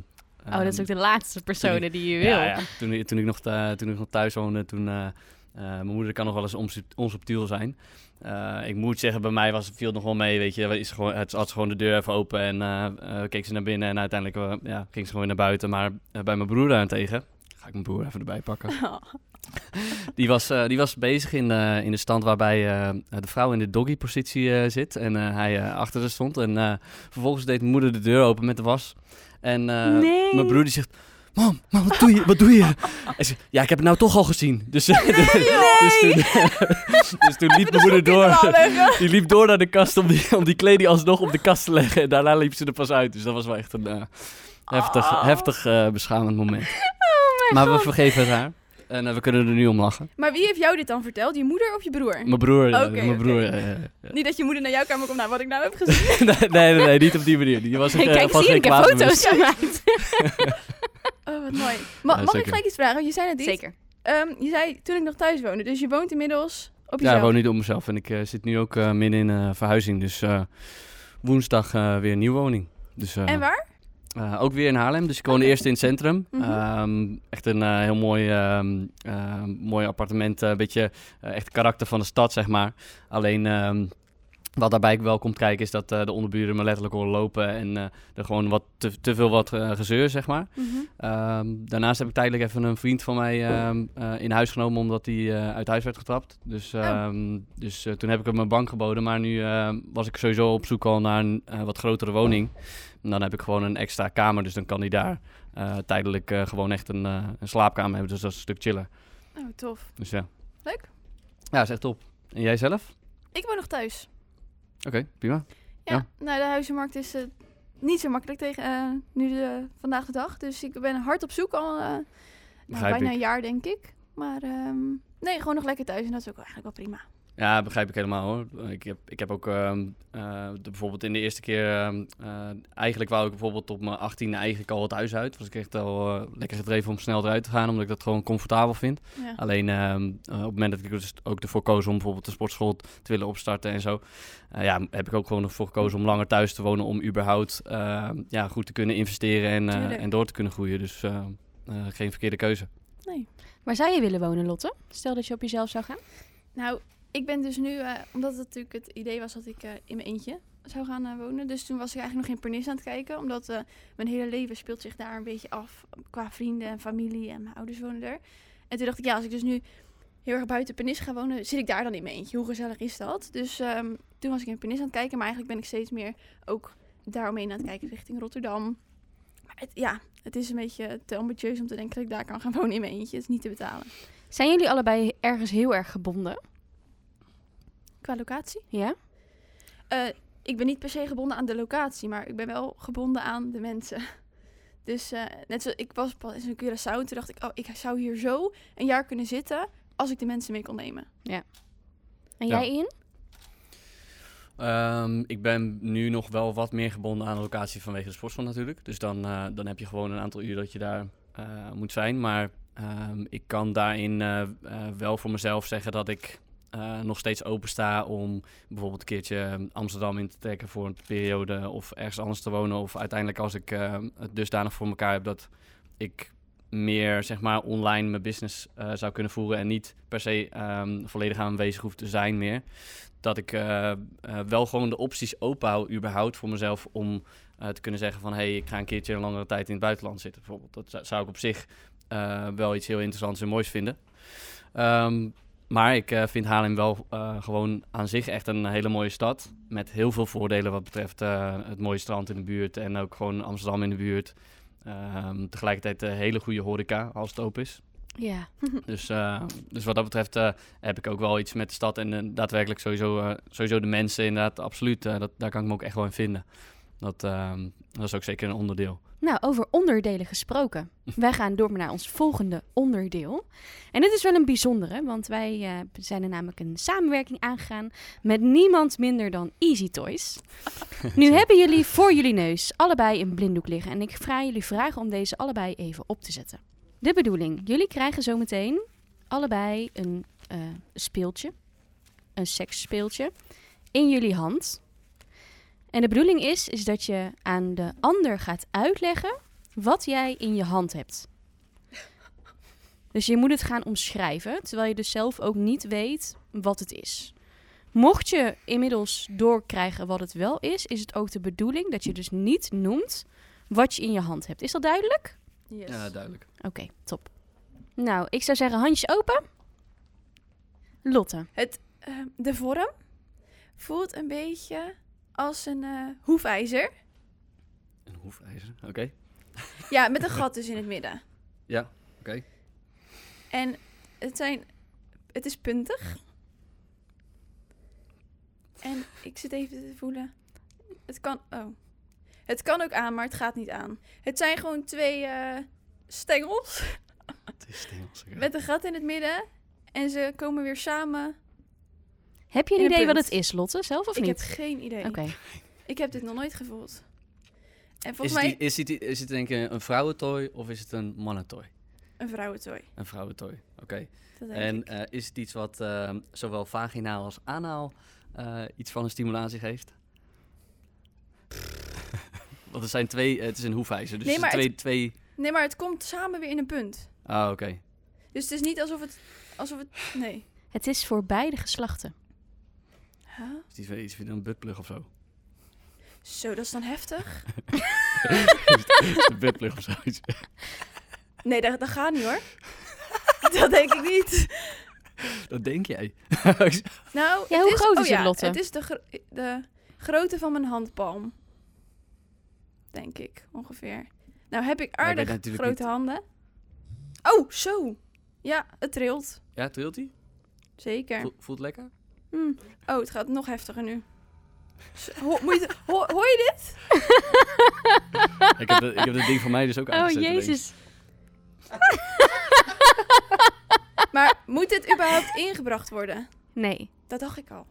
Oh, dat is ook de laatste personen die je wil. Ja, ja. Toen, toen, ik nog, thu- toen ik nog thuis woonde, toen... eh, eh, mijn moeder kan nog wel eens onsubt- onsubtiel zijn. Eh, ik moet zeggen, bij mij was, viel het nog wel mee, weet je. Is gewoon, het had ze gewoon de deur even open en eh, eh, keek ze naar binnen. En uiteindelijk eh, ja, ging ze gewoon weer naar buiten. Maar eh, bij mijn broer daarentegen... Ga ik mijn broer even erbij pakken. Die was, eh, die was bezig in, eh, in de stand waarbij eh, de vrouw in de doggy-positie eh, zit. En eh, hij eh, achter haar stond. En eh, vervolgens deed mijn moeder de deur open met de was. En eh, Nee. mijn broer die zegt... Mam, mam, wat doe je? Wat doe je? En ze, ja, ik heb het nou toch al gezien. <laughs> Dus, eh, dus, toen, <laughs> dus toen liep mijn moeder door. Die liep door naar de kast om die, om die kleding alsnog op de kast te leggen. En daarna liep ze er pas uit. Dus dat was wel echt een eh, heftig, Oh. heftig eh, beschamend moment. Oh mijn Maar we god. vergeven het haar. Eh, En eh, we kunnen er nu om lachen. Maar wie heeft jou dit dan verteld? Je moeder of je broer? Mijn broer, ja, Oké, mijn oké. broer. ja, ja, ja. Niet dat je moeder naar jouw kamer komt, nou wat ik nou heb gezien. <laughs> nee, nee, nee, niet op die manier. <laughs> Die was Hey, eh, kijk, was zie je, ik geen heb kwaad bewust. foto's <laughs> <laughs> gemaakt. Oh, wat mooi. Ja, Ma- mag ik zeker. gelijk iets vragen? Want je zei net iets. Zeker. Ehm, je zei toen ik nog thuis woonde, dus je woont inmiddels op Ja, jezelf. ik woon niet op mezelf. En ik eh, zit nu ook eh, midden in eh, verhuizing. Dus eh, woensdag eh, weer een nieuwe woning. Dus, eh, En waar? eh, ook weer in Haarlem. Dus ik woonde eerst in het centrum. Mhm. Ehm, echt een eh, heel mooi, ehm, eh, mooi appartement. eh, Een beetje eh, echt het karakter van de stad, zeg maar. Alleen... ehm, wat daarbij wel komt kijken is dat eh, de onderburen me letterlijk horen lopen en eh, er gewoon wat te, te veel wat eh, gezeur, zeg maar. Mhm. Ehm, daarnaast heb ik tijdelijk even een vriend van mij Oh. ehm, eh, in huis genomen omdat hij eh, uit huis werd getrapt. Dus, Oh. ehm, dus eh, toen heb ik hem mijn bank geboden. Maar nu ehm, was ik sowieso op zoek al naar een eh, wat grotere woning. En dan heb ik gewoon een extra kamer. Dus dan kan hij daar eh, tijdelijk eh, gewoon echt een, eh, een slaapkamer hebben. Dus dat is een stuk chiller. Oh, tof. Dus ja. Leuk. Ja, is echt top. En jij zelf? Ik woon nog thuis. Oké, prima. Ja, Ja. nou de huizenmarkt is eh, niet zo makkelijk tegen eh, nu de, vandaag de dag. Dus ik ben hard op zoek al eh, nou, Begrijp bijna ik. een jaar denk ik. Maar ehm, nee, gewoon nog lekker thuis en dat is ook eigenlijk wel prima. Ja, begrijp ik helemaal hoor. Ik heb, ik heb ook ehm, eh, de- bijvoorbeeld in de eerste keer... ehm, eh, eigenlijk wou ik bijvoorbeeld op mijn 18e eigenlijk al het huis uit. Was ik echt al eh, lekker gedreven om snel eruit te gaan, omdat ik dat gewoon comfortabel vind. Ja. Alleen ehm, eh, op het moment dat ik er dus ook ervoor koos om bijvoorbeeld een sportschool te willen opstarten en zo... eh, ja, heb ik ook gewoon ervoor gekozen om langer thuis te wonen, om überhaupt ehm, ja, goed te kunnen investeren en, eh, Tuurlijk. en door te kunnen groeien. Dus ehm, eh, geen verkeerde keuze. Waar zou je willen wonen, Lotte? Stel dat je op jezelf zou gaan. Nou, ik ben dus nu, eh, omdat het natuurlijk het idee was dat ik eh, in mijn eentje zou gaan eh, wonen. Dus toen was ik eigenlijk nog in Pernis aan het kijken, omdat eh, mijn hele leven speelt zich daar een beetje af. Qua vrienden en familie en mijn ouders wonen er. En toen dacht ik, ja, als ik dus nu heel erg buiten Pernis ga wonen, zit ik daar dan in mijn eentje. Hoe gezellig is dat? Dus ehm, toen was ik in Pernis aan het kijken, maar eigenlijk ben ik steeds meer ook daaromheen aan het kijken richting Rotterdam. Maar het, ja, het is een beetje te ambitieus om te denken dat ik daar kan gaan wonen in mijn eentje. Het is niet te betalen. Zijn jullie allebei ergens heel erg gebonden? Qua locatie? Ja? Eh, ik ben niet per se gebonden aan de locatie, maar ik ben wel gebonden aan de mensen. <laughs> Dus eh, net zo, ik was pas in Curaçao en toen dacht ik, oh, ik zou hier zo een jaar kunnen zitten als ik de mensen mee kon nemen. En Ja. jij in? Ehm, ik ben nu nog wel wat meer gebonden aan de locatie vanwege de sportschool natuurlijk. Dus dan, eh, dan heb je gewoon een aantal uur dat je daar eh, moet zijn. Maar ehm, ik kan daarin eh, eh, wel voor mezelf zeggen dat ik eh, nog steeds opensta om bijvoorbeeld een keertje ehm, Amsterdam in te trekken voor een periode of ergens anders te wonen. Of uiteindelijk als ik eh, het dusdanig voor elkaar heb dat ik meer zeg maar online mijn business eh, zou kunnen voeren en niet per se ehm, volledig aanwezig hoef te zijn meer. Dat ik eh, eh, wel gewoon de opties open hou überhaupt voor mezelf om eh, te kunnen zeggen van... hé, hey, ik ga een keertje een langere tijd in het buitenland zitten bijvoorbeeld. Dat zou- zou ik op zich eh, wel iets heel interessants en moois vinden. Ehm, maar ik eh, vind Haarlem wel eh, gewoon aan zich echt een hele mooie stad. Met heel veel voordelen wat betreft eh, het mooie strand in de buurt en ook gewoon Amsterdam in de buurt. Ehm, tegelijkertijd een hele goede horeca als het open is. Ja. Dus, eh, dus wat dat betreft eh, heb ik ook wel iets met de stad en eh, daadwerkelijk sowieso, eh, sowieso de mensen inderdaad, absoluut. eh, dat, daar kan ik me ook echt wel in vinden. Dat, ehm, dat is ook zeker een onderdeel. Nou, over onderdelen gesproken. Wij gaan door naar ons volgende onderdeel. En dit is wel een bijzondere, want wij eh, zijn er namelijk een samenwerking aangegaan met niemand minder dan Easy Toys. Nu hebben jullie voor jullie neus allebei een blinddoek liggen en ik vraag jullie vragen om deze allebei even op te zetten. De bedoeling, jullie krijgen zometeen allebei een eh, speeltje, een seksspeeltje, in jullie hand. En de bedoeling is, is dat je aan de ander gaat uitleggen wat jij in je hand hebt. Dus je moet het gaan omschrijven, terwijl je dus zelf ook niet weet wat het is. Mocht je inmiddels doorkrijgen wat het wel is, is het ook de bedoeling dat je dus niet noemt wat je in je hand hebt. Is dat duidelijk? Yes. Ja, duidelijk. Oké, top. Nou, ik zou zeggen handjes open. Lotte. Ehm, de vorm voelt een beetje als een eh, hoefijzer. Een hoefijzer, oké. Ja, met een gat dus in het midden. Ja, oké. En het zijn, het is puntig. En ik zit even te voelen. Het kan, oh. Het kan ook aan, maar het gaat niet aan. Het zijn gewoon twee eh, stengels. Het is stengels. oké. Met een gat in het midden. En ze komen weer samen. Heb je een In een idee wat punt. het is, Lotte? Zelf of ik niet? heb geen idee. Oké. Ik heb dit nog nooit gevoeld. En Is, volgens mij het, is, het, is het denk ik een vrouwentooi of is het een mannentooi? een vrouwentooi. Een vrouwentooi, oké. Dat denk En ik. eh, is het iets wat eh, zowel vaginaal als anaal eh, iets van een stimulatie geeft? <laughs> Want er zijn twee, het is een hoefijzer, dus Nee, er maar twee, twee... Nee, maar het komt samen weer in een punt. Ah, oké. Dus het is niet alsof het... Alsof het nee. Het is voor beide geslachten. Huh? Dus die twee- iets van een buttplug <laughs> of zo. Zo, dat is dan heftig. een buttplug of zoiets. Nee, dat, dat gaat niet hoor. <laughs> dat denk ik niet. <laughs> Dat denk <laughs> jij. Ja, Nou, het hoe is, groot is oh het, ja, Lotte? Het is de, gro- de grootte van mijn handpalm. Denk ik, ongeveer. Nou heb ik weet aardig natuurlijk grote niet. handen. Oh, zo. Ja, het trilt. ja, trilt hij? Zeker. Voelt, voelt lekker? Hm. Oh, het gaat nog heftiger nu. Zo, ho- moet je, ho- hoor je dit? <laughs> ik, heb dat, ik heb dat ding van mij dus ook Oh, aangezet. ineens. jezus. <laughs> Maar moet dit überhaupt ingebracht worden? Nee. Dat dacht ik al.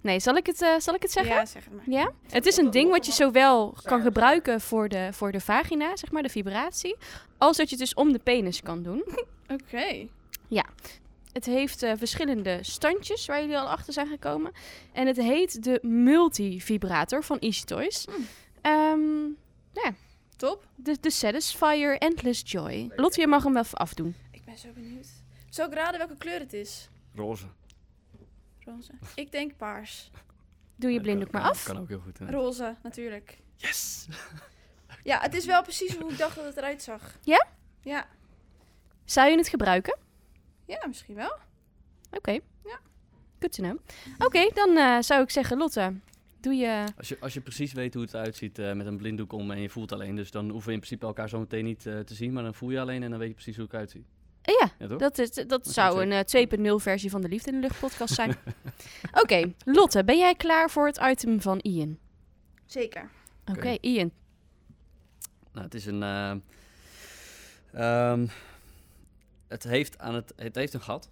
Nee, zal ik het, eh, zal ik het zeggen? Ja, zeg het maar. Ja? Het is een ding wat je zowel kan gebruiken voor de, voor de vagina, zeg maar, de vibratie, als dat je het dus om de penis kan doen. Oké. Het heeft eh, verschillende standjes waar jullie al achter zijn gekomen. En het heet de multivibrator van Easy Toys. Ehm, Hmm. Top. de, de Satisfier Endless Joy. Lotte, je mag hem wel even afdoen. Ik ben zo benieuwd. Zal ik raden welke kleur het is? Roze. Roze. Ik denk paars. Doe je Dat blinddoek kan- maar af. Kan ook heel goed. hè. Roze, natuurlijk. Yes! Ja, het is wel precies hoe ik dacht dat het eruit zag. Ja? Ja. Zou je het gebruiken? Ja, misschien wel. Oké. Ja. Good to know. Oké, dan eh, zou ik zeggen, Lotte, doe je... Als je, als je precies weet hoe het eruit ziet eh, met een blinddoek om en je voelt alleen, dus dan hoeven we in principe elkaar zo meteen niet eh, te zien, maar dan voel je alleen en dan weet je precies hoe ik eruit zie. Eh, ja, Ja, toch? dat, is, dat zou check. een eh, 2.0 versie van de Liefde in de Lucht podcast <laughs> zijn. Oké, Lotte, ben jij klaar voor het item van Ian? Zeker. Oké, Oké. Ian. Nou, het is een. eh, ehm, het, heeft aan het, het heeft een gat.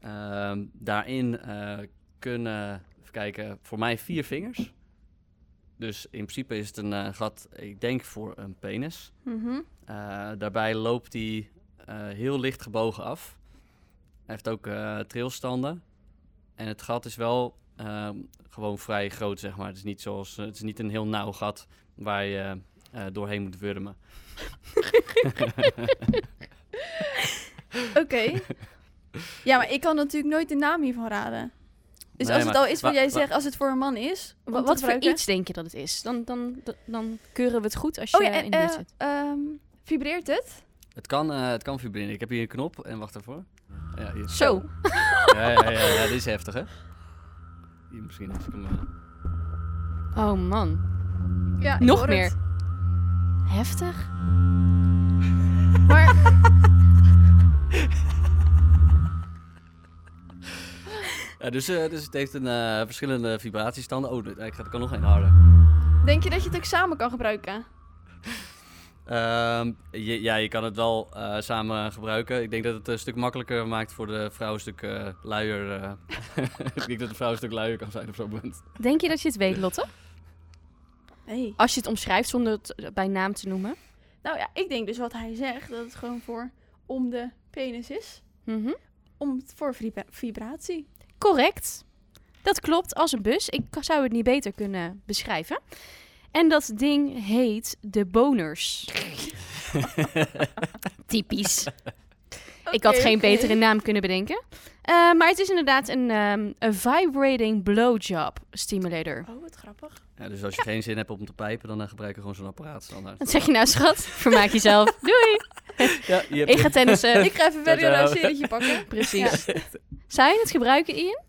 Ehm, daarin eh, kunnen, even kijken, voor mij vier vingers. Dus in principe is het een eh, gat, ik denk voor een penis. Mhm. Eh, daarbij loopt hij eh, heel licht gebogen af. Hij heeft ook eh, trilstanden. En het gat is wel ehm, gewoon vrij groot, zeg maar. Het is niet, zoals, eh, het is niet een heel nauw gat waar je eh, doorheen <laughs> moet wurmen. Dus Oké. ja, maar ik kan natuurlijk nooit de naam hiervan raden. Dus Nee, als het maar- al is wat wa- jij wa- zegt, als het voor een man is. om Wat, wat te voor gebruiken- iets denk je dat het is? Dan, dan, dan, dan keuren we het goed als je Oh ja, en, in de buurt eh, zit. ehm, vibreert het? Het kan, eh, het kan vibreren. Ik heb hier een knop en wacht ervoor. Ja, eh, hier. Zo. Ja, ja, ja, ja, dit is heftig, hè? Hier misschien als ik hem... eh, Oh man, Ja, ik nog hoor meer. het. <laughs> Heftig. Maar Ja, dus, eh, dus het heeft een, eh, verschillende vibratiestanden. Oh, dit- ik ga er kan nog één harder. denk je dat je het ook samen kan gebruiken? Ehm, je- ja, je kan het wel eh, samen gebruiken. Ik denk dat het een stuk makkelijker maakt voor de vrouw een stuk eh, luier. eh. <laughs> ik denk dat de vrouw een stuk luier kan zijn op <laughs> zo'n moment. Denk je dat je het weet, Lotte? Nee. Als je het omschrijft zonder het eh, bij naam te noemen. Oh, Nou ja, ik denk dus wat hij zegt, dat het gewoon voor om de penis is. Mhm. Om, voor vibra- vibratie. Correct. Dat klopt, als een bus. Ik k- zou het niet beter kunnen beschrijven. En dat ding heet de boners. <laughs> Typisch. Ik had Oké, geen oké. betere naam kunnen bedenken. Eh, maar het is inderdaad een, ehm, een vibrating blowjob stimulator. Oh, wat grappig. Ja, dus als je geen zin hebt om te pijpen, dan eh, gebruik je gewoon zo'n apparaat standaard. Wat zeg je nou, schat? Vermaak jezelf. Doei. <laughs> Ja, je hebt Ik ga tennissen. Ik ga even verder Ciao, een ciao. serietje pakken. Precies. Zou je het gebruiken, Ian?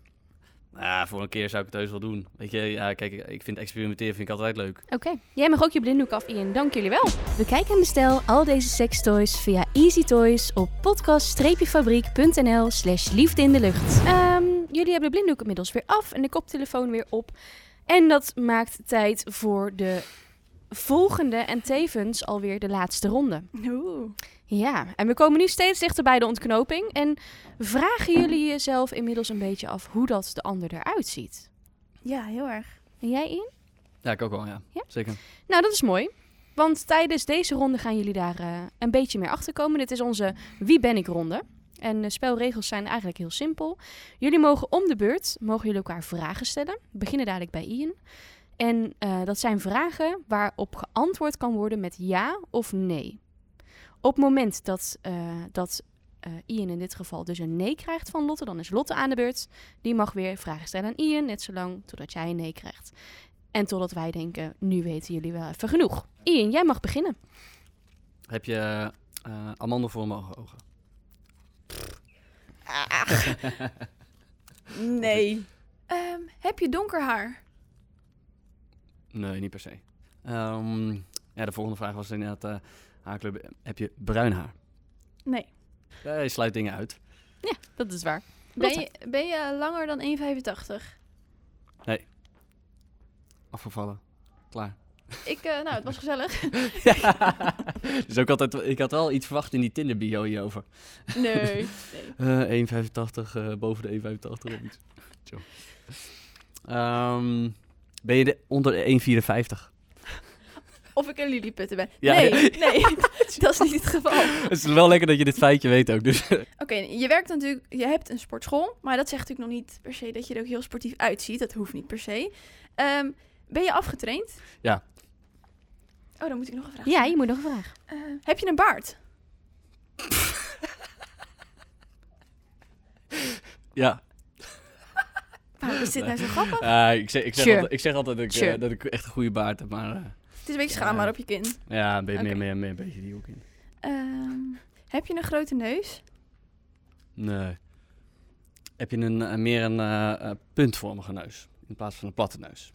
Ah, voor een keer zou ik het heus wel doen. Weet je, ja, kijk, ik vind experimenteren vind ik altijd leuk. Oké. Jij mag ook je blinddoek af, Ian. Dank jullie wel. Bekijk en bestel al deze sextoys via Easy Toys op podcast-fabriek.nl slash liefde in de lucht. Ehm, jullie hebben de blinddoek inmiddels weer af en de koptelefoon weer op. En dat maakt tijd voor de volgende en tevens alweer de laatste ronde. Oeh. Ja, en we komen nu steeds dichter bij de ontknoping. En vragen jullie jezelf inmiddels een beetje af hoe dat de ander eruit ziet? Ja, heel erg. En jij in? Ja, ik ook wel, ja. Ja? Zeker. Nou, dat is mooi. Want tijdens deze ronde gaan jullie daar eh, een beetje meer achter komen. Dit is onze Wie ben ik ronde. En de spelregels zijn eigenlijk heel simpel. Jullie mogen om de beurt mogen jullie elkaar vragen stellen. We beginnen dadelijk bij Ian. En eh, dat zijn vragen waarop geantwoord kan worden met ja of nee. Op het moment dat, eh, dat eh, Ian in dit geval dus een nee krijgt van Lotte, dan is Lotte aan de beurt. Die mag weer vragen stellen aan Ian, net zolang totdat jij een nee krijgt. En totdat wij denken, nu weten jullie wel even genoeg. Ian, jij mag beginnen. Heb je eh amandelvormige ogen? Ah. <laughs> Nee. Ehm, heb je donker haar? Nee, niet per se. Ehm, ja, de volgende vraag was inderdaad, eh haarkleur, heb je bruin haar? Nee. Ja, je sluit dingen uit. Ja, dat is waar. Ben Lotte. je, ben je eh, langer dan 1,85? Afgevallen. Klaar. <laughs> Ik, eh, nou, het was <laughs> gezellig. dus ook altijd, ik had wel iets verwacht in die Tinder bio hierover. Nee. Eh 1,85, eh, boven de 1,85 of iets. Zo. Ehm, ben je de, onder de 1,54? Of ik een lilliputter ben. Ja. Nee, nee. <laughs> dat is niet het geval. <laughs> Het is wel lekker dat je dit feitje weet ook. Dus. <laughs> Oké, je werkt natuurlijk, je hebt een sportschool, maar dat zegt natuurlijk nog niet per se dat je er ook heel sportief uitziet. Dat hoeft niet per se. Ehm, ben je afgetraind? Ja. Oh, dan moet ik nog een vraag. Ja, je moet nog een vraag. Eh, heb je een baard? Ja, Waarom is dit nou zo <laughs> grappig? eh, ik, zeg, ik, zeg Sure. altijd, ik zeg altijd dat ik, eh, Sure. dat ik echt een goede baard heb, maar eh, Het is een beetje Ja. schaambaar op je kin. ja, ben je meer, Oké. meer, meer een beetje die hoek in. Ehm, heb je een grote neus? Nee. Heb je een, eh, meer een eh, eh, puntvormige neus in plaats van een platte neus?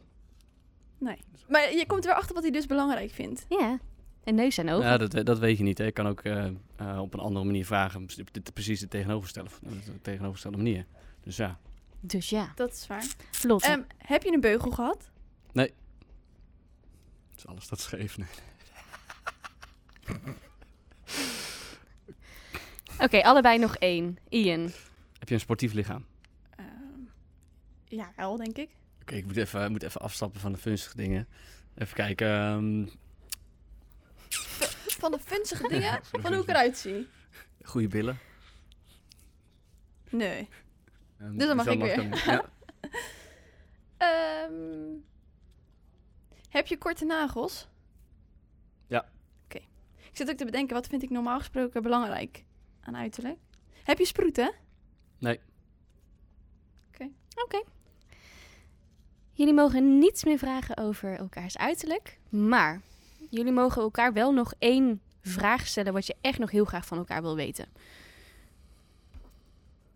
Maar je komt er wel achter wat hij dus belangrijk vindt. Ja. En neus Oh. en ogen. Ja, dat, we- dat weet je niet. Hè. Ik kan ook eh, eh, op een andere manier vragen. Pre- pre- Precies de tegenovergestelde, eh, de tegenovergestelde manier. Dus ja. Dus ja. Dat is waar. Lotte. Ehm, heb je een beugel gehad? Dus alles dat scheef. Nee. Oké, allebei nog één. Ian. Heb je een sportief lichaam? Ehm, ja, wel, denk ik. Oké, ik moet even, moet even afstappen van de funstige dingen. Even kijken. ehm, Van de funzige dingen, van de van hoe ik funzige. eruit zie. goede billen. Nee. Ehm, Dus dan mag ik weer. dan- <laughs> ja. Ehm, heb je korte nagels? Ja. Oké. Ik zit ook te bedenken, wat vind ik normaal gesproken belangrijk aan uiterlijk? Heb je sproeten? Jullie mogen niets meer vragen over elkaars uiterlijk. Maar jullie mogen elkaar wel nog één vraag stellen wat je echt nog heel graag van elkaar wil weten.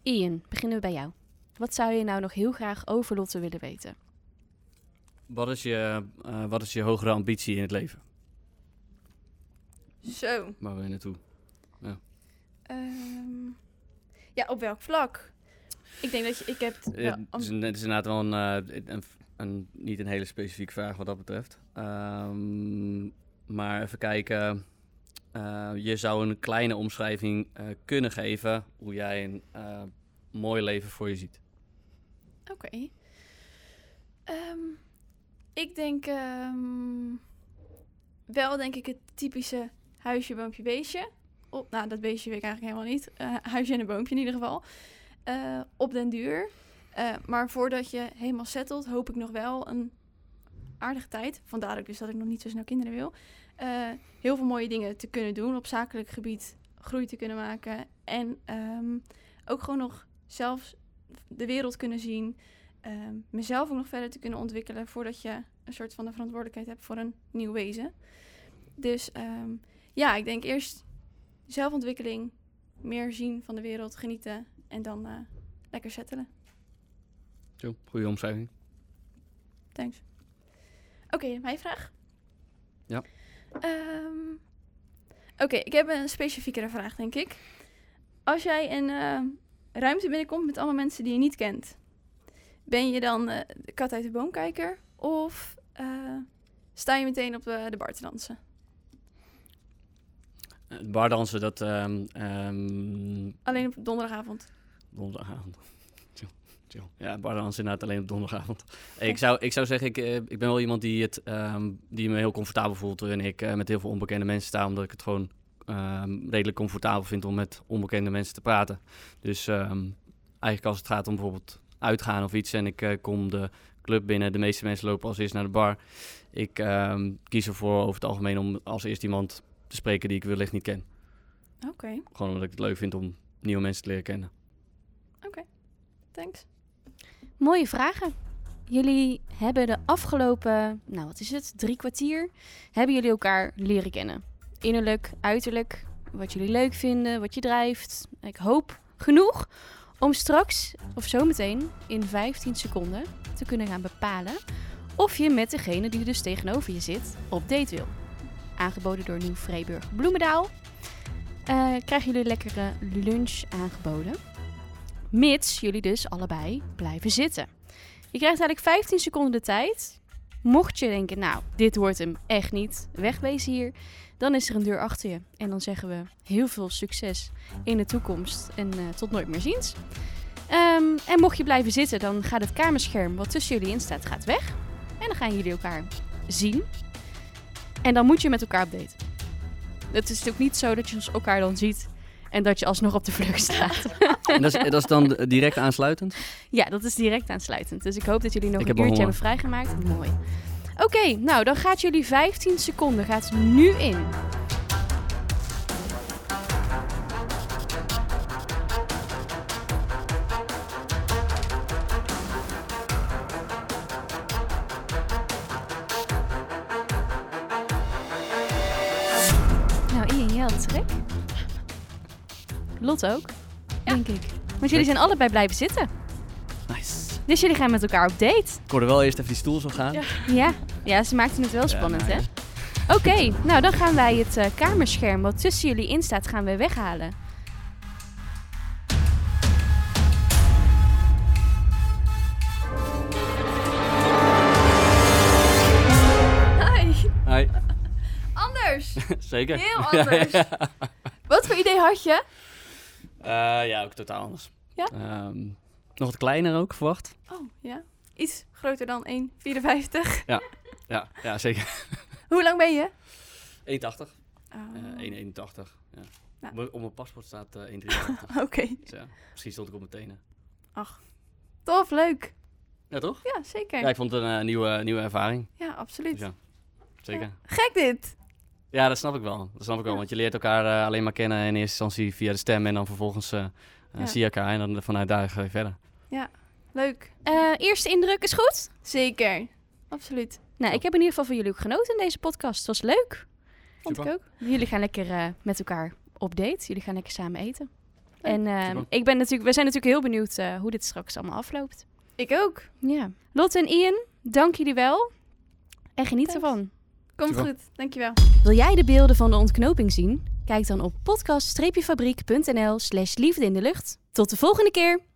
Ian, beginnen we bij jou. Wat zou je nou nog heel graag over Lotte willen weten? Wat, is je, eh, wat is je hogere ambitie in het leven? Zo. Waar wil je naartoe? Ehm, ja, op welk vlak? Ik denk dat je, ik heb... Eh, wel het, am- is, een- het is inderdaad wel een, eh, een, een- niet een hele specifieke vraag wat dat betreft. Ehm, maar even kijken. Eh, je zou een kleine omschrijving eh, kunnen geven hoe jij een eh, mooi leven voor je ziet. Oké. Ehm, ik denk ehm, wel denk ik het typische huisje, boompje, beestje. Op, nou, dat beestje weet ik eigenlijk helemaal niet. Eh, huisje en een boompje in ieder geval. Eh, op den duur. Eh, maar voordat je helemaal settelt, hoop ik nog wel een aardige tijd. Vandaar ook dus dat ik nog niet zo snel kinderen wil. Eh, heel veel mooie dingen te kunnen doen. Op zakelijk gebied groei te kunnen maken. En ehm, ook gewoon nog zelfs de wereld kunnen zien. ehm, mezelf ook nog verder te kunnen ontwikkelen voordat je een soort van de verantwoordelijkheid hebt voor een nieuw wezen. Dus ehm, ja, ik denk eerst zelfontwikkeling, meer zien van de wereld, genieten en dan eh, lekker settelen. Zo, goede omschrijving. Thanks. Oké, mijn vraag. Ja. Ehm, Oké, ik heb een specifiekere vraag, denk ik. Als jij een eh, ruimte binnenkomt met allemaal mensen die je niet kent, ben je dan eh, de kat uit de boomkijker? Of eh, sta je meteen op eh, de bar te dansen. Eh, Bardansen, dat... ehm ehm Alleen op donderdagavond. donderdagavond. <laughs> Chill, chill. Ja, bardansen inderdaad alleen op donderdagavond. Eh, Ik, zou, ik zou zeggen, ik, eh, ik ben wel iemand die, het, ehm, die me heel comfortabel voelt... waarin ik eh, met heel veel onbekende mensen sta... omdat ik het gewoon ehm, redelijk comfortabel vind om met onbekende mensen te praten. Dus ehm, eigenlijk als het gaat om bijvoorbeeld uitgaan of iets... en ik eh, kom de club binnen, de meeste mensen lopen als eerst naar de bar... ik ehm, kies ervoor over het algemeen om als eerst iemand te spreken... die ik wellicht niet ken. Oké, Gewoon omdat ik het leuk vind om nieuwe mensen te leren kennen. thanks. Mooie vragen. Jullie hebben de afgelopen, nou wat is het, drie kwartier, hebben jullie elkaar leren kennen. Innerlijk, uiterlijk, wat jullie leuk vinden, wat je drijft. Ik hoop genoeg om straks of zometeen in 15 seconden te kunnen gaan bepalen of je met degene die dus tegenover je zit op date wil. Aangeboden door Nieuw Vreeburg Bloemendaal. Eh, krijgen jullie lekkere lunch aangeboden. Mits jullie dus allebei blijven zitten. Je krijgt eigenlijk 15 seconden de tijd. Mocht je denken, nou, dit wordt hem echt niet, wegwezen hier. Dan is er een deur achter je. En dan zeggen we heel veel succes in de toekomst. En eh, tot nooit meer ziens. Ehm, en mocht je blijven zitten, dan gaat het kamerscherm wat tussen jullie in staat, gaat weg. En dan gaan jullie elkaar zien. En dan moet je met elkaar op date. Het is natuurlijk niet zo dat je elkaar dan ziet en dat je alsnog op de vlucht staat. En dat is, dat is dan eh, direct aansluitend? Ja, dat is direct aansluitend. Dus ik hoop dat jullie nog Ik een heb al uurtje hebben vrijgemaakt. Mooi. Oké, nou dan gaat jullie 15 seconden gaat nu in. Nou, Ian, jij had trek. Lot ook, denk ik. Want jullie zijn allebei blijven zitten. Nice. Dus jullie gaan met elkaar op date. Ik hoorde wel eerst even die stoel zo gaan. Ja. Ja, ja ze maakten het wel spannend, hè? Oké, nou dan gaan wij het eh, kamerscherm wat tussen jullie in staat, gaan we weghalen. Hi, Hi. <laughs> anders. Zeker. Heel anders. Wat voor idee had je? Eh, ja, ook totaal anders. Ja? Ehm, nog wat kleiner ook, verwacht. Oh, ja. Iets groter dan 1,54. Ja, <laughs> ja zeker. Hoe lang ben je? 1,80. Oh, Eh, 1,81. Ja. Nou. Op mijn- Op mijn paspoort staat <laughs> eh 1,83. <laughs> Oké. dus ja, misschien stond ik op mijn tenen. Tof, leuk. Ja, toch? Ja, zeker. Ja, Ja, ik vond het een eh, nieuwe, nieuwe ervaring. absoluut. Ja. Zeker. Gek dit. Ja, dat snap ik wel. Dat snap ik wel. Want je leert elkaar eh, alleen maar kennen in eerste instantie via de stem. En dan vervolgens eh, eh, Ja. zie je elkaar. En dan vanuit daar ga je verder. Leuk. Eh, eerste indruk is goed? Zeker. Absoluut. Nou, ik heb in ieder geval van jullie ook genoten in deze podcast. Het was leuk. Vond Super. ik ook. Jullie gaan lekker eh, met elkaar op date. Jullie gaan lekker samen eten. Leuk. En eh, Super. ik ben natuurlijk, we zijn natuurlijk heel benieuwd eh, hoe dit straks allemaal afloopt. Ik ook. Ja. Lot en Ian, dank jullie wel. En geniet Thanks. ervan. Komt Dankjewel. goed. Dankjewel. Wil jij de beelden van de ontknoping zien? Kijk dan op podcast-fabriek.nl slash liefde in de lucht. Tot de volgende keer!